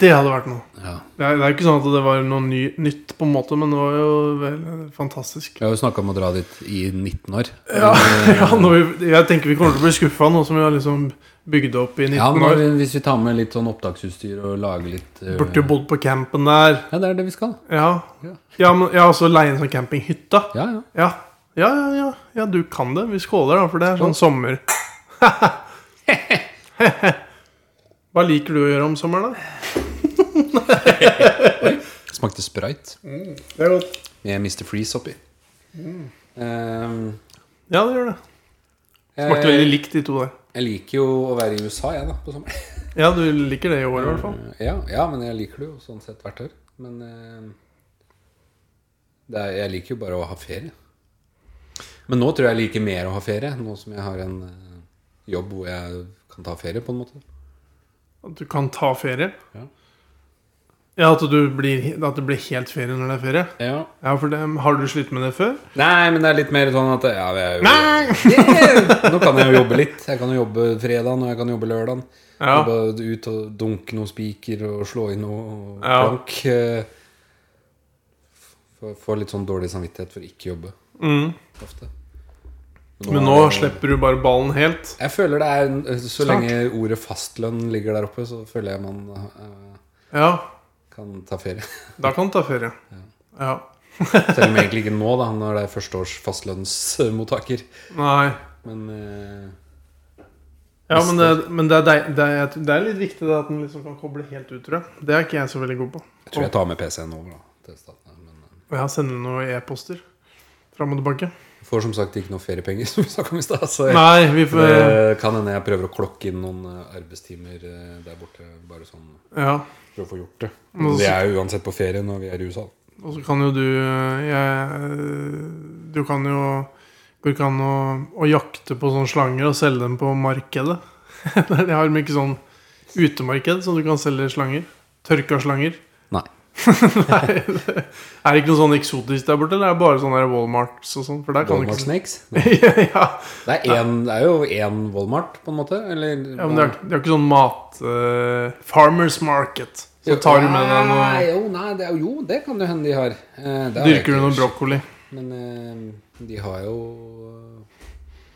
Det hadde vært noe. Ja. Det er, det er ikke sånn at det var noe ny, nytt, på en måte, men det var jo vel fantastisk. Jeg har jo snakka om å dra dit i 19 år. Ja, ja når vi, jeg tenker vi kommer til å bli skuffa nå som vi har liksom bygd det opp i 19 Ja, år. men Hvis vi tar med litt sånn opptaksutstyr og lager litt eh, Burde jo bodd på campen der. Ja, det er det vi skal. Ja. Ja. Ja, men jeg har også leie en sånn campinghytte. Ja, ja. Ja. Ja, ja, ja. ja, du kan det. Vi skåler, da, for det er sånn sommer. Hva liker du å gjøre om sommeren, da? Smakte sprite Det er godt. Mm. med Mr. Freeze oppi. Eh, Ja, det gjør det. Smakte veldig likt, de to der. Jeg liker jo å være i USA, jeg, da, på sommeren. Ja, du liker det i år i hvert fall. Eh, Ja, ja, men jeg liker det jo sånn sett hvert år. Men eh, det er, jeg liker jo bare å ha ferie. Men nå tror jeg jeg liker mer å ha ferie, nå som jeg har en eh, jobb hvor jeg kan ta ferie, på en måte. At du kan ta ferie. Ja. Ja, At, du blir, at det blir helt ferie når det er ferie. Ja. Ja, for det, Har du slitt med det før? Nei, men det er litt mer sånn at ja, jeg, Nei! Yeah! Nå kan jeg jo jobbe litt. Jeg kan jo jobbe fredag, og jeg kan jobbe lørdag. Ja. Jobbe ut og dunke noen spiker og slå inn noe Ja. plank. eh, Få få litt sånn dårlig samvittighet for ikke jobbe Mm. ofte. Men nå slipper du bare ballen helt. Jeg føler det er en- eh, Så Snart. lenge ordet fastlønn ligger der oppe, så føler jeg man eh, Ja, kan ta ferie. da kan du ta ferie. Ja. Selv om jeg egentlig ikke nå, da, når det er førsteårs fastlønnsmottaker. Nei. Men eh, Ja, men, det, men det, er deil, det, er, det er litt viktig det at den liksom kan koble helt ut, tror jeg. Det er ikke jeg så veldig god på. jeg tror jeg tar med PC-en over. da til staten, her, men... Og jeg sender noen e-poster fram og tilbake. Får som sagt ikke noe feriepenger, som vi snakket om i stad. Så jeg, Nei, vi får det kan hende jeg prøver å klokke inn noen eh, arbeidstimer eh, der borte. Bare sånn Ja. for å få gjort det. Men også- Vi er jo uansett på ferie når vi er i USA. Og så kan jo du eh, jeg, Du kan jo Går ikke an å, å jakte på sånne slanger og selge dem på markedet. De har mye sånn utemarked som du kan selge slanger. Tørka slanger. Nei. Nei, det- er det ikke noe sånn eksotisk der borte, eller er det bare sånne der Walmarts og sånn? For der kan du Walmart ikke Snakes? ja, Det er, en, det er jo én Walmart, på en måte. Eller ja, men det er, det er ikke sånn mat eh, Farmers market. Så tar du med deg Nei, noe Jo, nei, det, er, jo det kan det hende de har. Eh, det har Dyrker du jeg ikke noe sjekket. brokkoli? Men eh, de har jo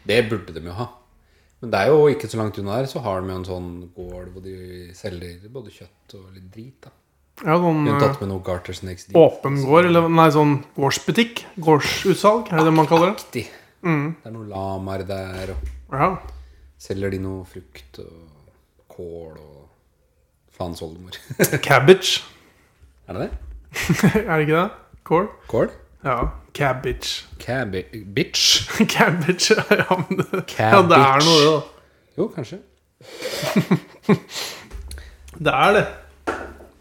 Det burde de jo ha. Men det er jo ikke så langt unna her, så har de jo en sånn gård hvor de selger både kjøtt og litt drit. da Ja, sånn Hun eh, tatt med noe garter snakes dit. åpen gård, eller nei, sånn gårdsbutikk? Gårdsutsalg, er det det man kaller det? Aktig. Mm, Det er noen lamaer der, og ja. selger de noe frukt og kål og faens oldemor. Cabbage, er det det? er det ikke det? Kål? Kål? Ja. Cabbage. Cabbi... Bitch? Cabbage, ja, men det, ja, det er noe, det, da. Jo, kanskje. Det er det.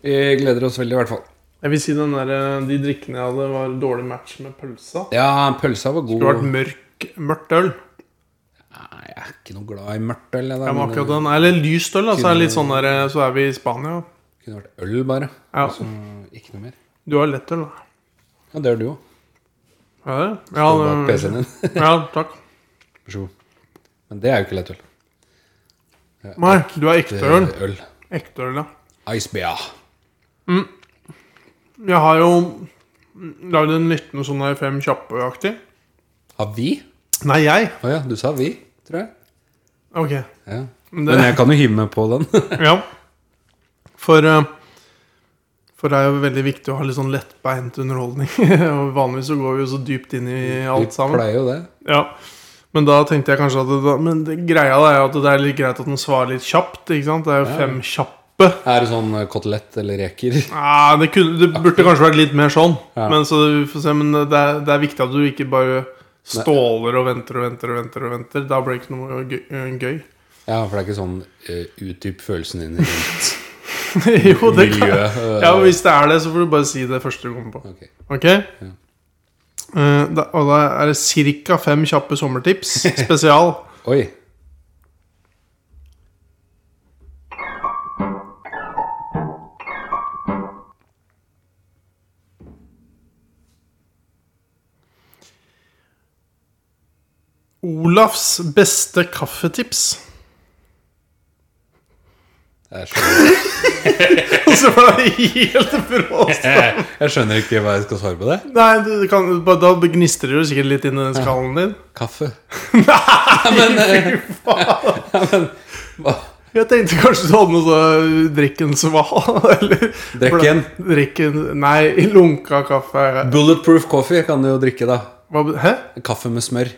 Vi gleder oss veldig, i hvert fall. Jeg vil si den der, eh, De drikkene jeg hadde, var dårlig match med pølsa. Ja, pølsa var god. Det var et mørk, mørkt øl. Nei, jeg er ikke noe glad i mørkt øl. Jeg, da, Ja, men men akkurat den, Eller lyst øl, da. Så er, det litt sånn der, eh, så er vi i Spania. det kunne vært øl, bare. Ja. Så ikke noe mer. Du har lettøl, da. Ja, det er du òg. Ja, det- Ja, ja, det- PC-en din. ja, takk. Vær så god. Men det er jo ikke lett øl. Nei, du har ekte Det øl. er øl. Ekte øl, ja. Ice beer. Jeg har jo lagd en liten sånn der Fem kjappe-aktig. Har vi? Nei, jeg. Å ja, du sa vi, tror jeg. Ok. Ja. Men Men det, jeg kan jo hive meg på den. ja. For, eh, for det er jo veldig viktig å ha litt sånn lettbeint underholdning. Og Vanligvis så går vi jo så dypt inn i alt sammen. Vi pleier jo det. Ja, men da tenkte jeg kanskje at det, Men det, greia er jo at det er litt greit at den svarer litt kjapt. ikke sant? Det er jo Ja. fem kjappe. Er det sånn eh, kotelett eller reker? Ah, det, kunne, det burde kanskje vært litt mer sånn. Ja. Men, så vi får se, men det, er, det er viktig at du ikke bare ståler og venter og venter. og venter og venter Da blir det ikke noe gøy. gøy. Ja, for det er ikke sånn uh, utdyp følelsen din rundt jo, det kan miljøet. eh, Ja, men Hvis det er det, så får du bare si det første du kommer på. ok. Ok? Eh, da, og da er det ca. fem kjappe sommertips spesial. Oi. Olafs beste kaffetips. Jeg skjønner, Og så var det helt bråst. jeg skjønner ikke hva jeg skal svare på det. Nei, du kan, bare da gnistrer det jo sikkert litt inn i den skallen din. Kaffe. Jeg tenkte kanskje du hadde noe sånn Drikk en sval, eller Drikk en. Drikk en Nei, lunka kaffe Bulletproof coffee kan du jo drikke, da. Hva, Hæ? Kaffe med smør.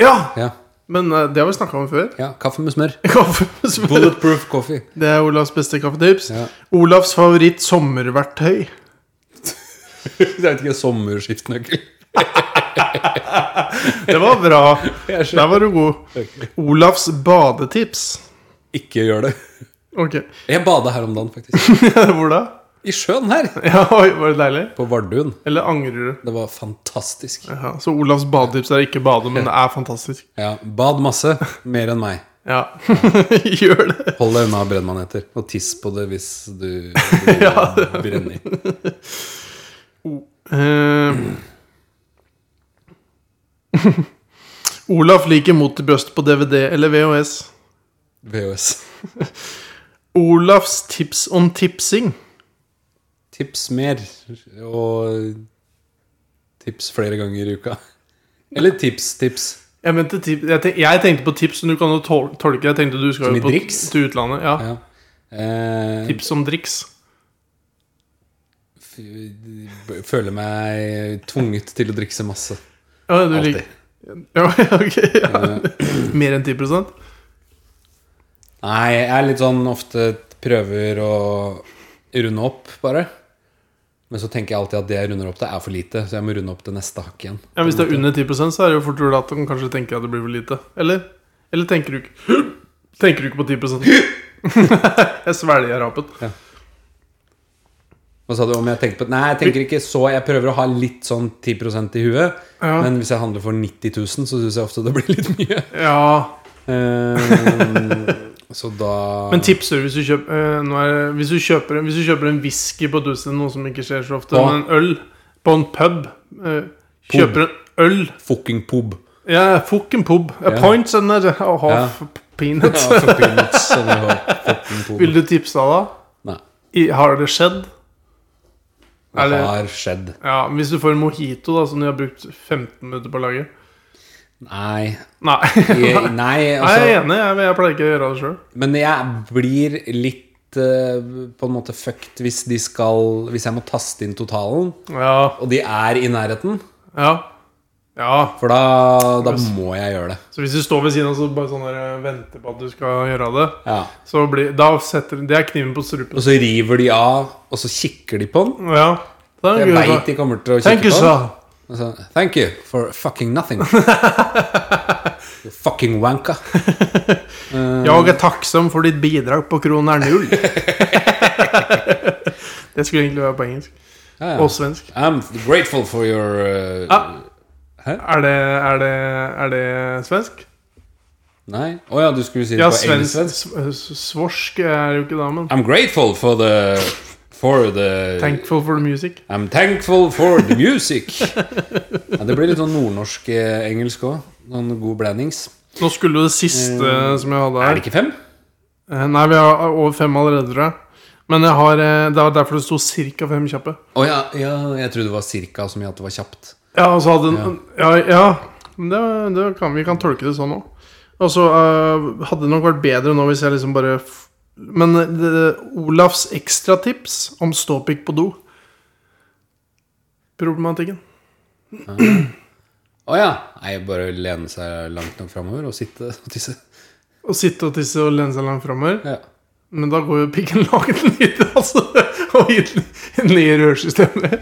Ja! Ja, Men eh, det har vi snakka om før. ja kaffe med smør. Kaffe med smør. Bulletproof coffee. Det er Olavs beste kaffetips. Ja. Olavs favoritt sommerverktøy. Det er ikke sommerskiftnøkkel. Det var bra. Jeg Der var du god. Olafs badetips. Ikke gjør det. Ok. Jeg bada her om dagen, faktisk. Hvor da? I sjøen her. Ja, oi, var det deilig? På Vardøen. Eller angrer du? Det var fantastisk. Ja, så Olavs badetips er ikke bade, men det er fantastisk. Ja, Bad masse. Mer enn meg. Ja, gjør det. Hold deg unna brennmaneter. Og tiss på det hvis du blir brenner. Eh, Olaf liker mot til brøst på DVD eller VHS. VHS. Olafs tips om tipsing. Tips mer. Og tips flere ganger i uka. Eller tips, tips. Jeg, mente tip, jeg, tenk, jeg tenkte på tips, men du kan jo tol tolke. Jeg tenkte du skal Som i jo på, driks? til utlandet. Ja. Ja. Eh, Tips om driks. f- føler meg tvunget til å drikke så masse. Ja, du Alltid. liker ja, ok, ja. Mer enn 10 Nei, jeg er litt sånn ofte prøver å runde opp, bare. Men så tenker jeg alltid at det jeg runder opp til, er for lite. Så jeg må runde opp til neste hakk igjen. Ja, Hvis det er under 10 så er det jo fort gjort at han kanskje tenker at det blir for lite. Eller? Eller tenker du ikke Tenker du ikke på 10 Jeg svelger rapet. Hva sa du om jeg tenker på Nei, jeg tenker ikke så. Jeg prøver å ha litt sånn 10 i huet. Ja. Men hvis jeg handler for 90 000, så syns jeg ofte det blir litt mye. Ja, Ehm, så da Men tipser du hvis du kjøper, eh, nå er, det- hvis du kjøper, hvis du kjøper en whisky på et utested, noe som ikke skjer så ofte, Ja. men en øl på en pub eh, Pub. Kjøper en øl Fucking pob. Ja, fuck en pub. A Ja. point and a a half Ja, peanut. fucking nuts, sånn jeg har. Fucking pob. Vil du tipse av da? Nei. I, har det skjedd? Det Eller- har skjedd. Ja, men Hvis du får en mojito da, som de har brukt 15 minutter på å lage Nei. Nei. Jeg, nei, Nei, jeg altså er enig, jeg, men jeg pleier ikke å gjøre det sjøl. Men jeg blir litt eh, på en måte fucked hvis de skal Hvis jeg må taste inn totalen, Ja, og de er i nærheten. ja. Ja, For da, da må jeg gjøre det. Så hvis du står ved siden av og bare sånn der, eh, venter på at du skal gjøre det, Ja. så blir, da setter Det er kniven på strupen. Og så river de av, og så kikker de på den. Ja. Det er Jeg en god veit idé. de kommer til å Thank kikke you, på den. sir. Og så, Thank you for fucking nothing. You fucking wanka. Jeg er takksom for ditt bidrag på kroner null. det skulle egentlig være på engelsk. Ja, ja. Og svensk. I'm grateful for your uh, Ah. Er det, er det, er det svensk? Nei? Å ja, du skulle si det Ja, på svensk. engelsk? sv- s- Svorsk er jo ikke det, men I'm grateful for the For the Thankful for the music. I'm thankful for the music. Ja, det blir litt sånn nordnorsk eh, engelsk òg. Noen god blandings. Nå skulle jo det siste Eh, som jeg hadde her Er det ikke fem? Eh, Nei, vi har over fem allerede, tror jeg. Men jeg har, eh, det er derfor det sto ca. fem kjappe. Å ja, ja, jeg trodde det var cirka så mye at det var kjapt. Ja, og så hadde den, ja. ja, men det, det kan, vi kan tolke det sånn òg. Og så eh, hadde det nok vært bedre nå hvis jeg liksom bare f Men eh, det, Olafs ekstratips om ståpikk på do. Problematikken. Å ja. Nei, bare lene seg langt nok framover og sitte og tisse. Å sitte og tisse og lene seg langt framover. Ja. Men da går jo pikken langt ned, altså. Og inn- ned i rørsystemet.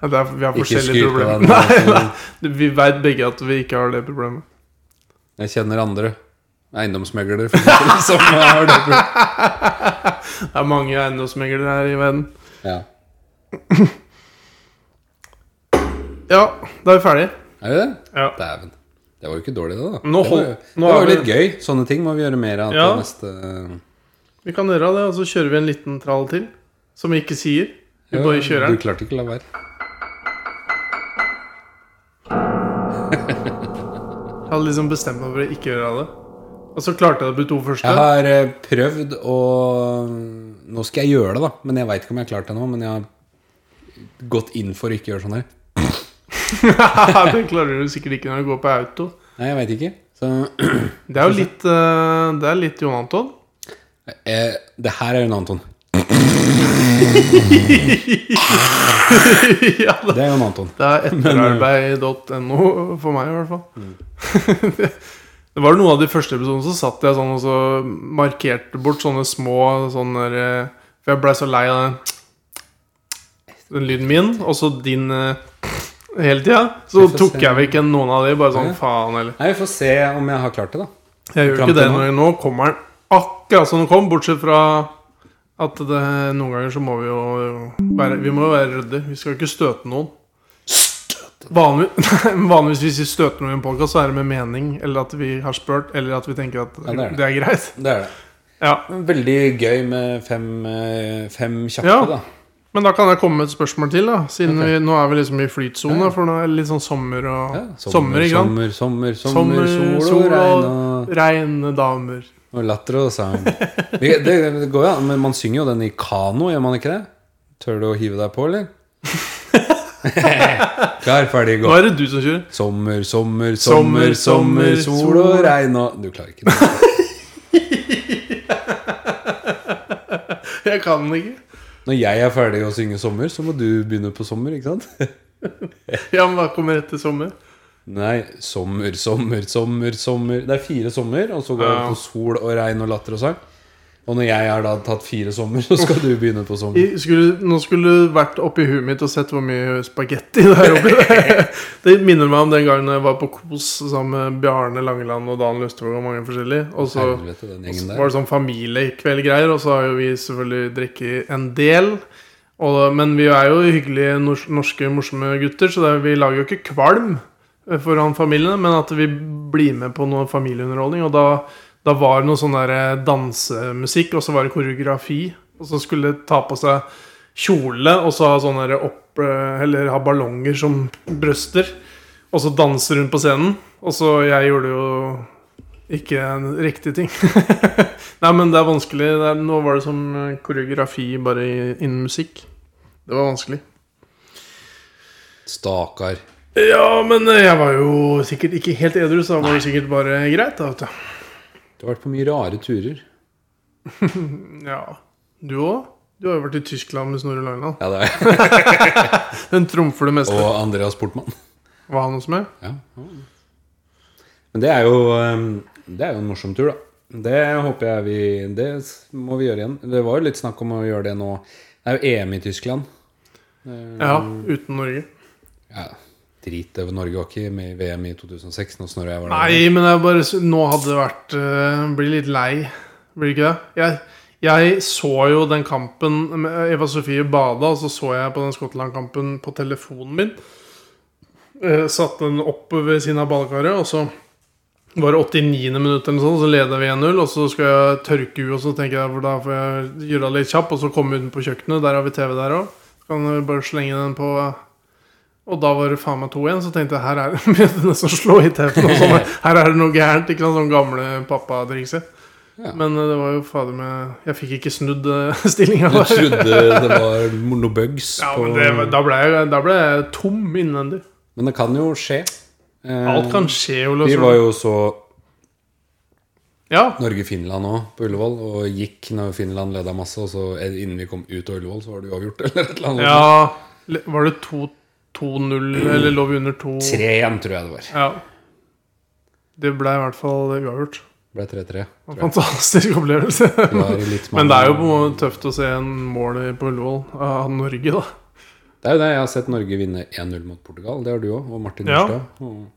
Ja, det er, vi har Ikke forskjellige skryt på problemer. deg nå, Nei, altså. nei, vi veit begge at vi ikke har det problemet. Jeg kjenner andre eiendomsmeglere for eksempel, som har det problemet. Det er mange eiendomsmeglere her i verden. Ja. Ja, da er vi ferdige. Er vi det? Ja. Dæven. Det var jo ikke dårlig, det, da. Nå det var, hold- jo- nå det var er jo vi- litt gøy. Sånne ting må vi gjøre mer av Ja. til neste eh, Vi kan gjøre det, og så kjører vi en liten trall til. Som vi ikke sier. Vi Ja, bare kjører Du den. klarte ikke å la være. Jeg hadde liksom bestemt meg for å ikke gjøre det. Og så klarte jeg det på de to første. Jeg har eh, prøvd å Nå skal jeg gjøre det, da. Men jeg veit ikke om jeg har klart det nå. Men jeg har gått inn for å ikke gjøre sånn her. det klarer du sikkert ikke når du går på auto. Nei, jeg veit ikke. Så Det er jo litt eh, Det er litt Jon Anton. eh, Det her er jo en Anton. ja, det, Det er jo en Anton. det er etterarbeid.no for meg, i hvert fall. Mm. det var noen av de første episodene så satt jeg sånn og så sånn markerte bort sånne små sånne der, eh, For jeg blei så lei av den den lyden min, og så din eh, hele tida. Så Vi får tok se. jeg vekk en- noen av de, bare sånn Ja. faen, eller Nei, Vi får se om jeg har klart det, da. Jeg gjør Fram ikke til det nå. Nå kommer den akkurat som den kom, bortsett fra at det, noen ganger så må vi jo være Vi må jo være ryddige. Vi skal jo ikke støte noen. Vanligvis, vanligvis hvis vi støter noen i en podkast, så er det med mening, eller at vi har spurt, eller at vi tenker at Ja, det er det. det er greit. Det er det. Ja. Veldig gøy med fem, eh, fem kjappe, Ja. da. Men da kan jeg komme med et spørsmål til, da. Siden Ok. vi, nå er vi liksom i flytsone, Ja, ja. for nå er det litt sånn sommer og Ja, sommer, ikke sant? sommer, sommer, sommer, Sommer, sol og og regn og, regne damer. og latter og sang. Vi- Det, det går jo an, men man synger jo den i kano, gjør man ikke det? Tør du å hive deg på, eller? Klar, ferdig, Nå gå. er det du som kjører. Sommer, sommer, sommer, sommer, sol og regn og Du klarer ikke det. Jeg kan den ikke. Når jeg er ferdig å synge sommer, så må du begynne på sommer, ikke sant? Ja, men hva kommer rett til sommer? Nei, sommer, sommer, sommer, sommer Det er fire sommer, og så går Ja. det på sol og regn og latter og sang. Og når jeg har da tatt fire sommer, så skal du begynne på sommer. I- Skulle, nå skulle du vært oppi huet mitt og sett hvor mye spagetti det er oppi der. Det minner meg om den gangen jeg var på Kos sammen med Bjarne Langeland og Dan Løstvåg og mange forskjellige. Og så Helvete, den Og gjengen så der. var det sånn familiekveldgreier, og så har jo vi selvfølgelig drikket en del. Og, men vi er jo hyggelige nors- norske morsomme gutter, så det, er- vi lager jo ikke kvalm eh, foran familiene, men at vi blir med på noe familieunderholdning. Og da, da var det noe sånn der eh, dansemusikk, og så var det koreografi, og så skulle de ta på seg kjole, og så ha sånne der opp... eh, Eller ha ballonger som brøster, og så danse rundt på scenen. Og så jeg gjorde jo ikke en riktig ting. Nei, men det er vanskelig. Det er, nå var det som eh, koreografi bare i- innen musikk. Det var vanskelig. Stakkar. Ja, men eh, jeg var jo sikkert ikke helt edru, så da var det sikkert bare greit. da, vet du. Du har vært på mye rare turer. Ja. Du òg? Du har jo vært i Tyskland med Snorre Langland. Ja, det er. Den trumfer det meste. Og Andreas Portmann. Var han hos meg? Ja. Men det er jo ehm, Det er jo en morsom tur, da. Det håper jeg vi Det må vi gjøre igjen. Det var jo litt snakk om å gjøre det nå. Det er jo EM i Tyskland. Ja, uten Norge. Ja, drit det. Norge var ikke med i VM i 2006. Nå snurrer jeg var der. Nei, men jeg bare, s- nå hadde det vært eh, Blir litt lei. Blir det ikke det? Jeg, jeg så jo den kampen med Eva Sofie bada, og så så jeg på den Skottland-kampen på telefonen min. Eh, satte den opp ved siden av ballkaret, og så var det 89. minutt eller noe sånt, så leda vi 1-0, og så skal jeg tørke ut, og så tenker jeg for da får jeg gjøre det litt kjapp, og så komme ut på kjøkkenet, der har vi TV der òg. Kan vi bare slenge den på og da var det faen meg to igjen, så tenkte jeg her er det begynte nesten å slå i teppet. og sånn, Her er det noe gærent. Ikke sant, sånn gamle pappatrikset. Ja. Men eh, det var jo fader meg Jeg fikk ikke snudd eh, stillinga. Du trodde det var noe bugs Ja, på men det, var- da, ble jeg, da ble jeg tom innvendig. Men det kan jo skje. Eh, Alt kan skje. Ole, Vi så- var jo så ja, Norge-Finland òg, på Ullevål, og gikk når Finland leda masse. Og så eh, innen vi kom ut av Ullevål, så var det uavgjort, eller et eller annet. ja, le- var det 2-0, eller lå vi under 2 Tre igjen, tror jeg det var. Ja. Det ble i hvert fall uavgjort. Ble 3-3. En tror jeg. Fantastisk opplevelse. Vi har litt Men det er jo på en mann- måte tøft å se en mål på Ullevål av Norge, da. Det er jo det. Jeg har sett Norge vinne 1-0 mot Portugal. Det har du òg, og Martin Ja. Nordstad. Og-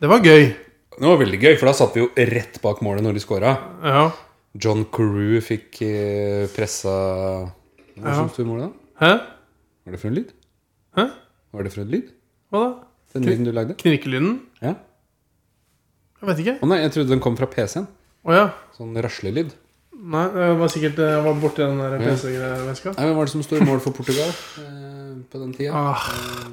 Det var gøy. Det var veldig gøy, for da satt vi jo rett bak målet når de skåra. Ja. John Carew fikk eh, pressa Hva Ja. syns du om målet, da? Hæ? Var det for en lyd? Hæ? Var det for en lyd? Hva da? Den lyden du lagde? Knirkelyden? Ja. Jeg vet ikke. Å nei, jeg trodde den kom fra PC-en. Å ja. Sånn raslelyd. Nei, jeg var sikkert jeg var borti den der PC-veska. Nei, Hvem var det som sto i mål for Portugal eh, på den tida? Ah,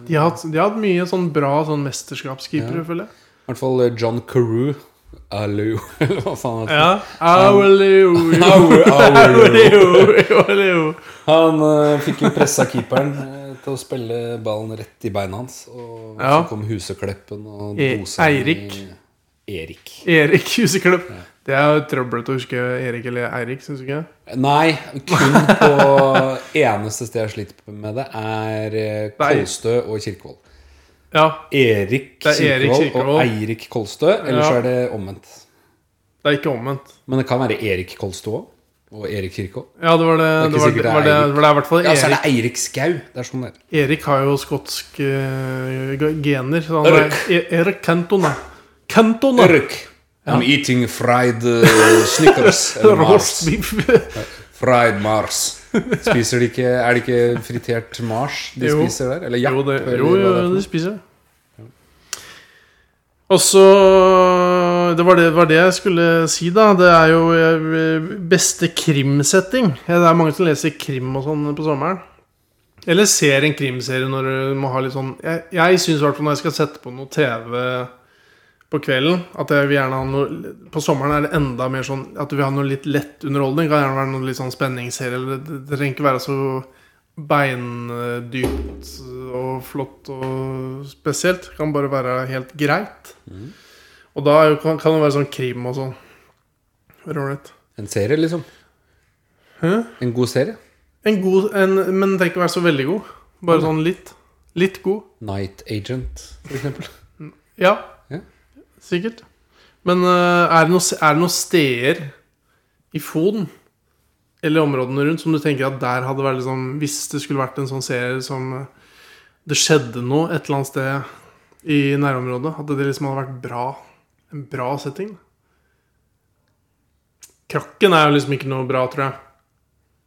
de, har hatt, de har hatt mye sånn bra sånn mesterskapskeepere, Ja. føler jeg. I hvert fall eh, John Carew. Allu, eller hva faen heter Ja. Auliu, Au, au, au. auliu, auliu. Han eh, fikk jo pressa keeperen eh, til å spille ballen rett i beina hans. Og Ja. så kom Husekleppen og E- dosa han i- Eirik. Erik. Erik Husekløpp. Det er jo trøblete å huske Erik eller Eirik, syns du ikke? Nei, kun på eneste sted jeg har slitt med det, er eh, Nei. Kolstø og Kirkevold. Ja. Erik Det er Erik Kirkevold Kirkevold. og Eirik Kolstø, eller Ja. så er det omvendt. Det er ikke omvendt. Men det kan være Erik Kolstø òg. Og Erik Kirkå. Ja, det var det. Det er ikke Det var det, sikkert det er var det, Eirik. var det i hvert fall Ja, så er Erik. det Eirik Skau. Det er sånn det er. Erik har jo skotsk eh, g- gener. Så han Erik. er E- Erik Cantona. Cantona! Erik. I'm eating fried uh, Snickers. eller Mars. Roast beef. Fried Mars. Spiser de ikke Er det ikke fritert Mars de Jo. spiser der? Eller japp? Jo, det, eller jo, hva jo, det er for de noe? spiser det. Og så Det var det, var det jeg skulle si, da. Det er jo eh, beste krimsetting. Ja, Det er mange som leser krim og sånn på sommeren. Eller ser en krimserie når du må ha litt sånn Jeg, jeg syns i hvert fall når jeg skal sette på noe TV på kvelden At jeg vil gjerne ha noe På sommeren er det enda mer sånn at du vil ha noe litt lett underholdning. Det Kan gjerne være noe litt sånn spenningsserie. Eller det, det trenger ikke være så beindypt og flott og spesielt. Det kan bare være helt greit. Og da er jo- kan, kan det være sånn krim og sånn. Ålreit. En serie, liksom? Hæ? En god serie? En god en, Men tenk å være så veldig god. Bare sånn litt. Litt god. Night Agent, for eksempel. Ja. Ja. Sikkert. Men eh, er, det noe, er det noen steder i Foden eller områdene rundt som du tenker at der hadde vært liksom Hvis det skulle vært en sånn serie som eh, det skjedde noe et eller annet sted i nærområdet, at det liksom hadde vært bra en bra setting? Krakken er jo liksom ikke noe bra, tror jeg.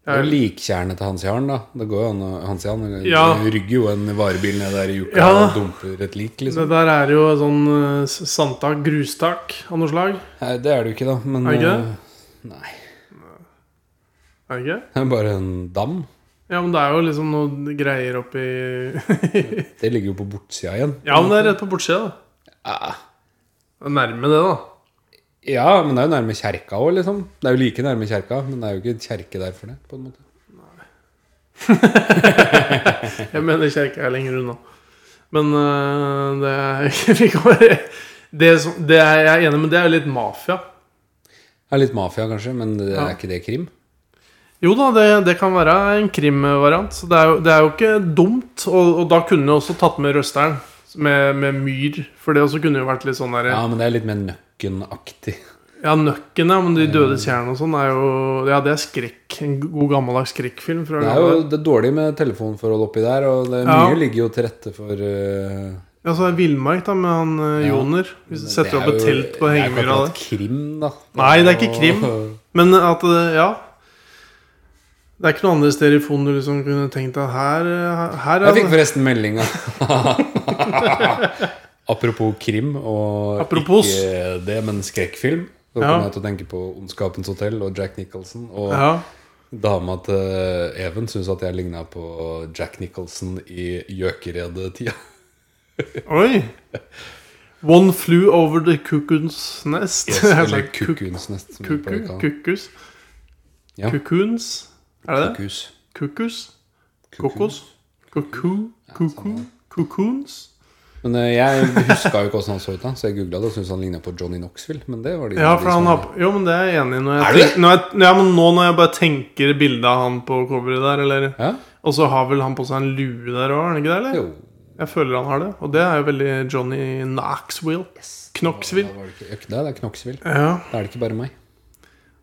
Det er jo likkjernet til Hans Jarn, da. Det går jo an å Hans Jarn Ja. rygger jo en varebil ned der i uka Ja. og dumper et lik, Det liksom. der er jo sånn eh, s- sandtak, grustak av noe slag. Nei, det er det jo ikke, da. Men Er det ikke det? eh, Nei. Er det ikke? Det er bare en dam. Ja, men det er jo liksom noe greier oppi Det ligger jo på bortsida igjen. Ja, men det er rett på bortsida, da. Ah. Det er Nærme det, da. Ja, men det er jo nærme kjerka òg, liksom. Det er jo like nærme kjerka, men det er jo ikke en kjerke der for det. på en måte. Jeg mener kjerka er lenger unna. Men øh, det er vi kan bare- det, som, det er jeg er enig med, det er jo litt mafia. Det er litt mafia, kanskje, men det Ja. er ikke det krim? Jo da, det, det kan være en krimvariant. Så det er jo, det er jo ikke dumt. Og, og da kunne du også tatt med røsteren. Med, med myr. For det også kunne jo vært litt sånn derre Ja, ja. men det er litt mer nøkkenaktig. nøkken, ja. Men De dødes jern og sånn er jo Ja, det er skrekk. En god gammeldags skrekkfilm. Fra Det er jo det er dårlig med telefonforhold oppi der, og det, Ja. mye ligger jo til rette for eh, Ja, så er Altså, det Villmark da med han eh, Ja. Joner. Hvis du det setter er opp et jo- telt på hengemyra Det er jo ikke akkurat der. krim, da. Nei, det er ikke krim. Og- Men at eh, ja Det er ikke noe andre steder i fond du liksom kunne tenkt at her, eh, her Jeg er fikk forresten melding av- Apropos krim og Apropos. ikke det, men skrekkfilm. Så Ja. kom jeg til å tenke på Ondskapens hotell og Jack Nicholson. Og ja. dama til Even syntes at jeg ligna på Jack Nicholson i gjøkeredet-tida. Oi! One flew over the cuckoo's nest. Jeg har Eller sagt sånn kuk- Kukuns, nesten. Som jeg pleier Kuku, å kalle den. kukkus. Ja. Kukuns. Er det det? Kukus. Kukkus? Kukus. Kokos? Kuku? Kuku? Kukuns? Men eh, jeg huska jo ikke åssen han så ut, da så jeg googla det og syntes han ligna på Johnny Knoxville. Men det var det Ja, ingen for han som- har på- Jo, men det er jeg enig i. Når jeg, Er du det? tenk- Når jeg, ja, men nå når jeg bare tenker bildet av han på coveret der, eller ja? Og så har vel han på seg en lue der òg, er han ikke det? eller? Jo. Jeg føler han har det. Og det er jo veldig Johnny Knoxville. Knoxville. Da var det ikke Økne, det er Knoxville. Ja. Da er det ikke bare meg.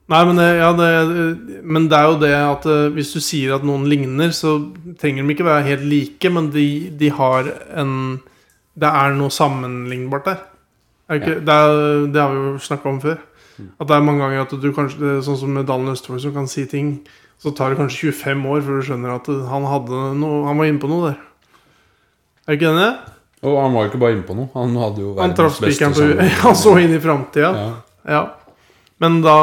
Nei, men det, ja, det, men det er jo det at eh, hvis du sier at noen ligner, så trenger de ikke være helt like, men de, de har en Det er noe sammenlignbart der. Er det, ikke, det, er, det har vi jo snakka om før. Mm. At det er mange ganger at du kanskje det er Sånn som med Dalen Østfold, som kan si ting. Så tar det kanskje 25 år før du skjønner at eh, han hadde noe Han var inne på noe der. Er du ikke enig? Og han var jo ikke bare inne på noe. Han hadde jo Han traff spikeren på samboer. huet. Han så inn i framtida. Ja. Ja. Men da,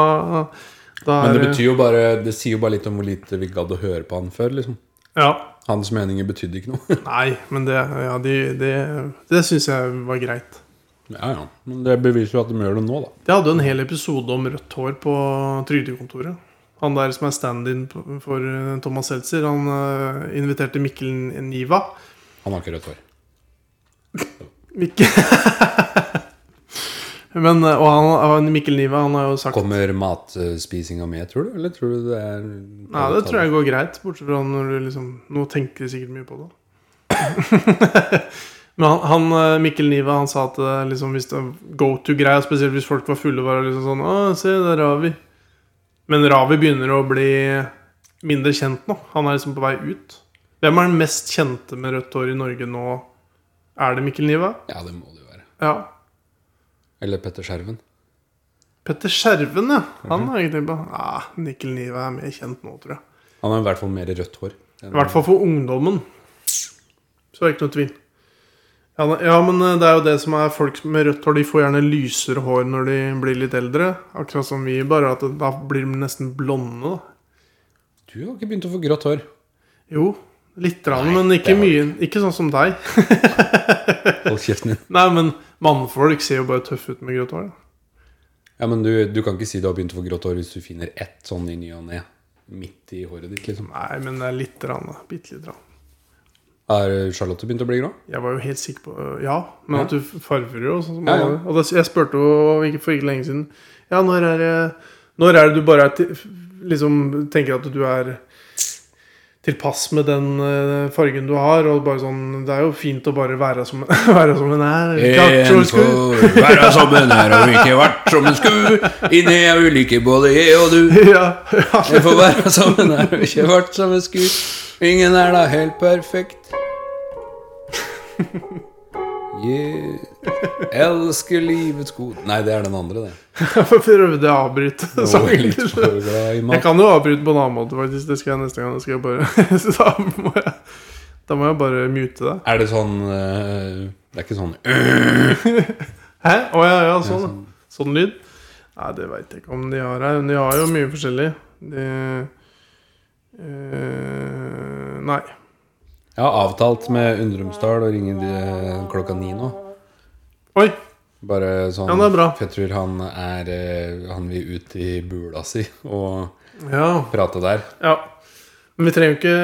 da Men det er- betyr jo bare Det sier jo bare litt om hvor lite vi gadd å høre på han før. liksom Ja. Hans meninger betydde ikke noe. Nei, men det, ja, de, det, det syns jeg var greit. ja, ja. Men det beviser jo at de gjør det nå, da. Jeg hadde jo en hel episode om rødt hår på Trygdekontoret. Han der som er stand-in på- for eh, Thomas Seltzer, han eh, inviterte Mikkel Niva. Han har ikke rødt hår. Mikkel Men, eh, og han, han- Mikkel Niva han har jo sagt Kommer matspisinga med, tror du? Eller tror du det er Nei, det tror jeg går greit, bortsett fra når du liksom Nå tenker de sikkert mye på det. Men han, han eh, Mikkel Niva han sa at eh, liksom, hvis det go to-greia, spesielt hvis folk var fulle, var det liksom sånn Å, se, der har vi. Men Ravi begynner å bli mindre kjent nå. Han er liksom på vei ut. Hvem er den mest kjente med rødt hår i Norge nå? Er det Mikkel Niva? Ja, det må det jo være. Ja. Eller Petter Skjerven. Petter Skjerven, ja. Han har jeg ikke tenkt på. Ah, Mikkel Niva er mer kjent nå, tror jeg. Han har i hvert fall mer rødt hår. enn- I hvert fall for ungdommen. Så er det ikke noe tvil. Ja, ne- ja, men eh, det er jo det som er folk med rødt hår. De får gjerne lysere hår når de blir litt eldre. Akkurat som vi, bare at da blir de nesten blonde. da. Du har ikke begynt å få grått hår. Jo, lite grann, Nei, men ikke det har mye. Ikke sånn som deg. Hold kjeften din. Nei, men mannfolk ser jo bare tøffe ut med grått hår. da. Ja, men du, du kan ikke si du har begynt å få grått hår hvis du finner ett sånn i ny og ne. Midt i håret ditt, liksom. Nei, men det er lite grann, da. Bitte lite grann. Har Charlotte begynt å bli grå? Jeg var jo helt sikker på øh, Ja, men Ja. at du farver jo sånn som Ja, ja. alle. Og da, jeg spurte jo ikke for ikke lenge siden Ja, når er det Når er det du bare er til, liksom tenker at du er tilpass med den eh, fargen du har? Og bare sånn Det er jo fint å bare være som, være som en er. Klart, så skal- være sammen her og ikke vært som en sku. Inni er ulike både jeg og du. ja, ja. Vi får være sammen her og ikke vært som en sku. Ingen er da helt perfekt. Jeg elsker livets god Nei, det er den andre, det. Jeg prøvde å avbryte Nå er jeg litt sangen. for glad i Jeg mat. kan jo avbryte på en annen måte, faktisk. Det skal jeg neste gang. Det skal jeg bare, så da, må jeg, da må jeg bare mute deg. Er det sånn eh, Det er ikke sånn øh, Hæ? Å ja, ja, sånn. ja. Sånn lyd? Nei, det veit jeg ikke om de har her. Men de har jo mye forskjellig. De eh, Nei. Jeg har avtalt med Undrumsdal å ringe de- klokka ni nå. Oi! Bare sånn Ja, det er bra. Fetter han er eh, Han vil ut i bula si og Ja. prate der. ja. Men vi trenger jo ikke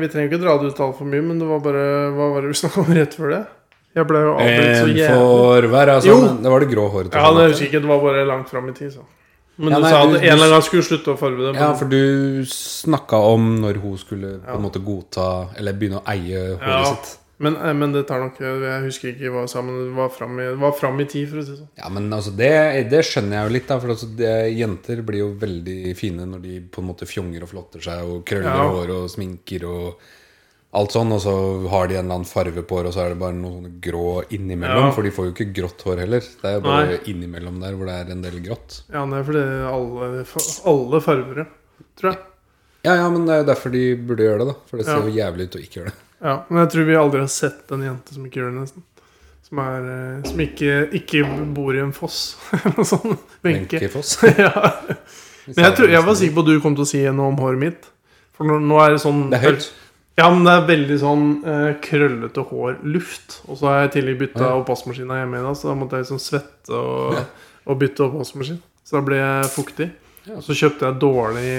Vi trenger ikke dra det ut altfor mye, men det var bare Hva var det vi snakka om rett før det? Jeg ble jo avbrutt så En jævlig. får være Jo. sammen altså, Det var det grå håret. Ja, til det Charlotte. husker jeg ikke. Det var bare langt fram i tid, så. Men Ja, du nei, sa at du- en du- eller annen gang skulle slutte å farge det. Ja, Men, for du snakka om når hun skulle på Ja. en måte godta Eller begynne å eie håret Ja. sitt. men, eh, men det tar nok Jeg husker ikke hva sammen Det var fram i, det var fram i tid, for å si det sånn. Ja, men altså det, det skjønner jeg jo litt, da. For altså det, jenter blir jo veldig fine når de på en måte fjonger og flotter seg og krøller Ja. hår og sminker og alt sånn. Og så har de en eller annen farve på håret, og så er det bare noe sånn grå innimellom. Ja. For de får jo ikke grått hår heller. Det er jo bare innimellom der hvor det er en del grått. Ja, det er fordi alle, fa- alle farger, ja, tror jeg. Ja, ja, men det er jo derfor de burde gjøre det, da. For det ser Ja. jo jævlig ut å ikke gjøre det. Ja, Men jeg tror vi aldri har sett en jente som ikke gjør det, nesten. Som, er, eh, som ikke, ikke bor i en foss, eller noe sånt. Benke. Benke Foss. Ja. Men jeg, tror, jeg var sikker på at du kom til å si noe om håret mitt. For nå, nå er det sånn Det er høyt. Ja, men det er veldig sånn eh, krøllete hår, luft. Og så har jeg i tillegg bytta Ja. oppvaskmaskina hjemme i dag, så da måtte jeg liksom svette og, og bytte oppvaskmaskin. Så da ble jeg fuktig. Ja. Og så kjøpte jeg dårlig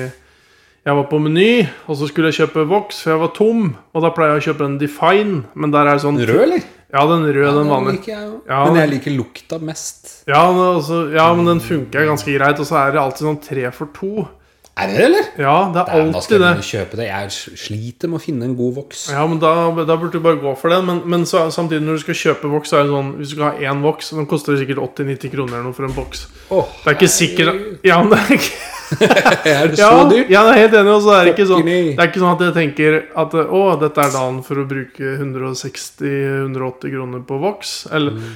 Jeg var på Meny, og så skulle jeg kjøpe voks, for jeg var tom. Og da pleier jeg å kjøpe en Define, men der er det sånn Rød, eller? Ja, den røde, den vanlige. liker jeg jo. Ja, Men den- jeg liker lukta mest. Ja, men altså- ja, men den funker ganske greit. Og så er det alltid sånn tre for to. Er det det, eller? Ja, det er Nei, da skal alltid jeg det. begynne å kjøpe det. Jeg s- sliter med å finne en god voks. Ja, men da, da burde du bare gå for den. Men, men så, samtidig når du skal kjøpe voks, så er det sånn Hvis du skal ha én voks, den koster sikkert 80-90 kroner eller noe for en boks. Åh, Det er ikke sikkert Ja, men det er ikke Er det ja, så ja, dyrt? jeg er helt enig. Og så er det ikke sånn Fucking ei. Det er ikke sånn at jeg tenker at Å, dette er dagen for å bruke 160-180 kroner på voks. Eller Mm.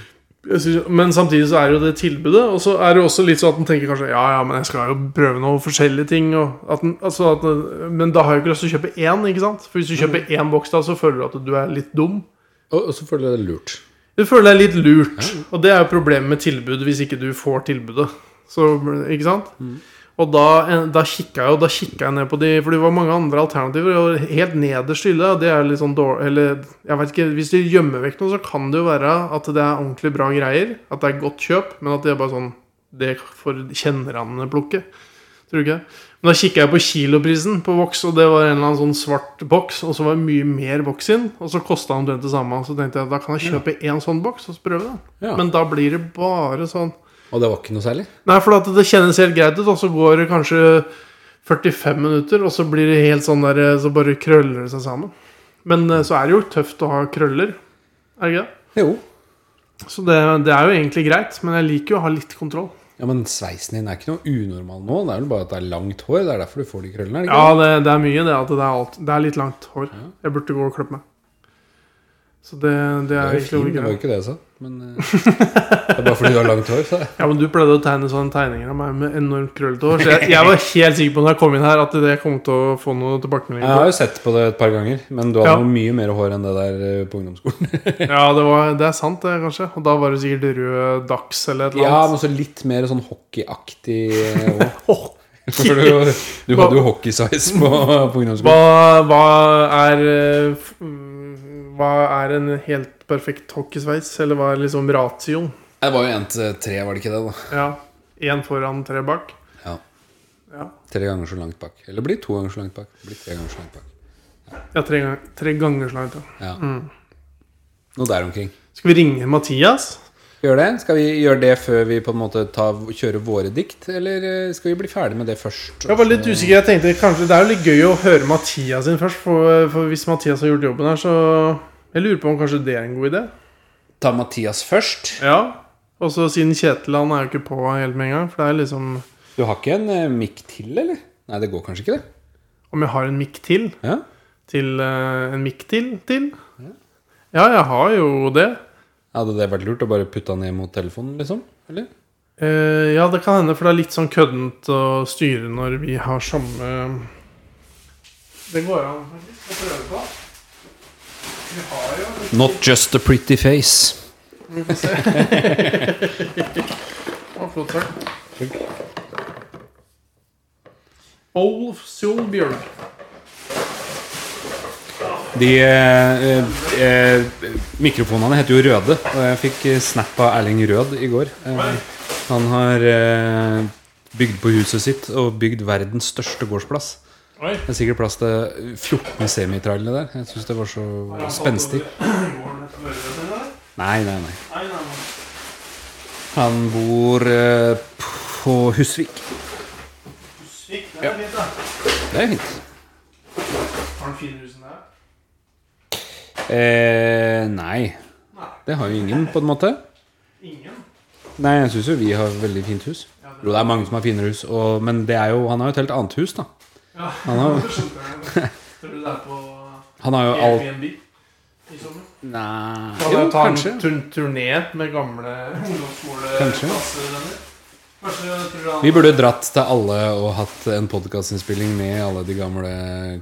jeg synes, Men samtidig så er det jo det tilbudet. Og så er det jo også litt sånn at en tenker kanskje Ja, ja, men jeg skal jo prøve noen forskjellige ting. Og at den, altså at, den- men da har jeg jo ikke lyst til å kjøpe én, ikke sant? For hvis du kjøper Mm. én boks, da, så føler du at du er litt dum. Og og så føler jeg det er lurt. Du føler deg litt lurt, og det er jo problemet med tilbud hvis ikke du får tilbudet. Så, ikke sant? Og da, da kikka jeg, og da kikket jeg ned på de For det var mange andre alternativer. Og helt nederst i hylla, det er litt sånn dårlig Eller jeg vet ikke, hvis de gjemmer vekk noe, så kan det jo være at det er ordentlig bra greier. At det er godt kjøp, men at det er bare sånn Det får kjennerne plukke. Tror du ikke? det? Men da kikka jeg på kiloprisen på voks, og det var en eller annen sånn svart boks. Og så var det mye mer voks inn, og så kosta den omtrent det samme. Så tenkte jeg da kan jeg kjøpe én sånn boks og så prøve den. Ja. Men da blir det bare sånn Og det var ikke noe særlig? Nei, for at det kjennes helt greit ut, og så går det kanskje 45 minutter, og så blir det helt sånn der Så bare krøller det seg sammen. Men eh, så er det jo tøft å ha krøller. Er det ikke det? Jo. Så det, det er jo egentlig greit, men jeg liker jo å ha litt kontroll. Ja, Men sveisen din er ikke noe unormal nå. Det er vel bare at det er langt hår. Det er derfor du får de krøllene. er det Ja, ikke det? det, det er mye, det. At det, er alt. det er litt langt hår. Jeg burde gå og klippe meg. Så det, det Det er er jo egentlig fint, det ikke var jo ikke det jeg sa. Men eh, det er bare fordi du har langt hår, så Ja, men Du pleide å tegne sånne tegninger av meg med enormt krøllete hår. Så jeg, jeg var helt sikker på når jeg kom inn her at det kom til å få noe Jeg har tilbakemeldinger. jo sett på det et par ganger, men du hadde Ja. jo mye mer hår enn det der eh, på ungdomsskolen. på. Ja, det, var, det er sant, det, kanskje. Og da var det sikkert rød dags eller et eller Ja, annet. men så litt mer sånn hockeyaktig eh, også. Åh, For du, du hadde jo hockeysveis på, på ungdomsskolen. hva, hva er eh, f- mm, Hva er en helt perfekt hockeysveis? Eller hva er liksom ratioen? Det var jo 1 til 3, var det ikke det? da? Ja, Én foran, tre bak. Ja. Ja, Tre ganger så langt bak. Eller blir to ganger så langt bak. Blir tre ganger så langt bak. ja tre, gang- tre ganger så langt. Ja. Ja. Mm. Noe der omkring. Skal vi ringe Mathias? Gjør det? Skal vi gjøre det før vi på en måte tar, kjører våre dikt, eller eh, skal vi bli ferdig med det først? Jeg var litt usikker. Jeg tenkte kanskje Det er jo litt gøy å høre Mathias sin først. For, for hvis Mathias har gjort jobben her, så Jeg lurer på om kanskje det er en god idé. Ta Mathias først. Ja. Og så siden Kjetil han er jo ikke på helt med en gang. For det er liksom Du har ikke en eh, mikk til, eller? Nei, det går kanskje ikke, det. Om jeg har en mikk til? Ja. Til eh, en mikk til? Til? Ja, jeg har jo det. Hadde det vært lurt å bare putte han ned mot telefonen, liksom? Eller? Eh, ja, det kan hende, for det er litt sånn køddent å styre når vi har samme Det går an faktisk å prøve på. Vi har jo Not just a pretty face. Vi får se. Å, flott sagt. Olf Solbjørg. De eh, eh, mikrofonene heter jo Røde, og jeg fikk eh, snap av Erling Rød i går. Eh, han har eh, bygd på huset sitt og bygd verdens største gårdsplass. Oi. Det er sikkert plass til 14 semitrailere der. Jeg syns det var så spenstig. Nei, nei, nei. Han bor eh, på Husvik. Ja. Har Det er fint. han fine husen der? Eh, nei. Nei. Det har jo ingen, på en måte. Ingen? Nei, jeg syns jo vi har veldig fint hus. Jo, det er mange som har finere hus, og, men det er jo, han har jo et helt annet hus, da. Ja. Han har, Tror du det er på han har jo alt Airbnb i sommer? Nei Kan jo, jeg ta kanskje. en turn turné med gamle ungdomsskoleklassevenner? Kanskje tror du han Vi burde dratt til alle og hatt en podkastinnspilling med alle de gamle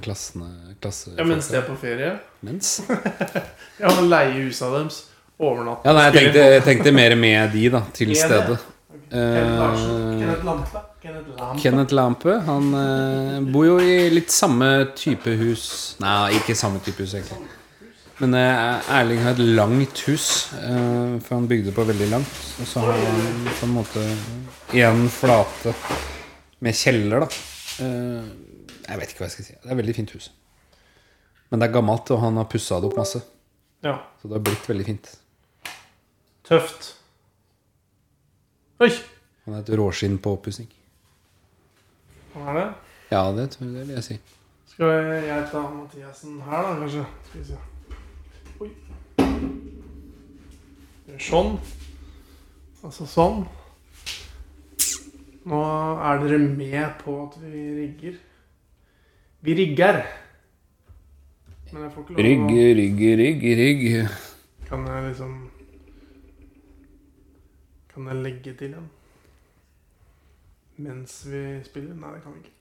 klassene klasse, Ja, mens de er på ferie? Mens? Ja, men leie husa deres. Overnatte. Ja, nei, jeg tenkte, jeg tenkte mer med de, da. Til Med det? stede. Kenneth Larsen. Eh, Kenneth Lampe. Kenneth Lampe. Kenneth Lampe han eh, bor jo i litt samme type hus Nei, ikke samme type hus, egentlig. Men eh, Erling har et langt hus, eh, for han bygde på veldig langt. Og så har han på en måte én flate med kjeller, da. Eh, jeg vet ikke hva jeg skal si. Det er et veldig fint hus. Men det er gammelt, og han har pussa det opp masse. Ja. Så det har blitt veldig fint. Tøft. Oi! Han er et råskinn på oppussing. Hva er det? Ja, det, tror jeg- det vil jeg si. Skal jeg, jeg ta Mathiasen her, da, kanskje? Skal vi se. Oi. Gjør Sånn. Altså sånn. Nå er dere med på at vi rigger. Vi rigger. Men jeg får ikke Rygg, lov å rygg, rygg, rygg. Kan jeg liksom Kan jeg legge til igjen? Mens vi spiller? Nei, det kan vi ikke.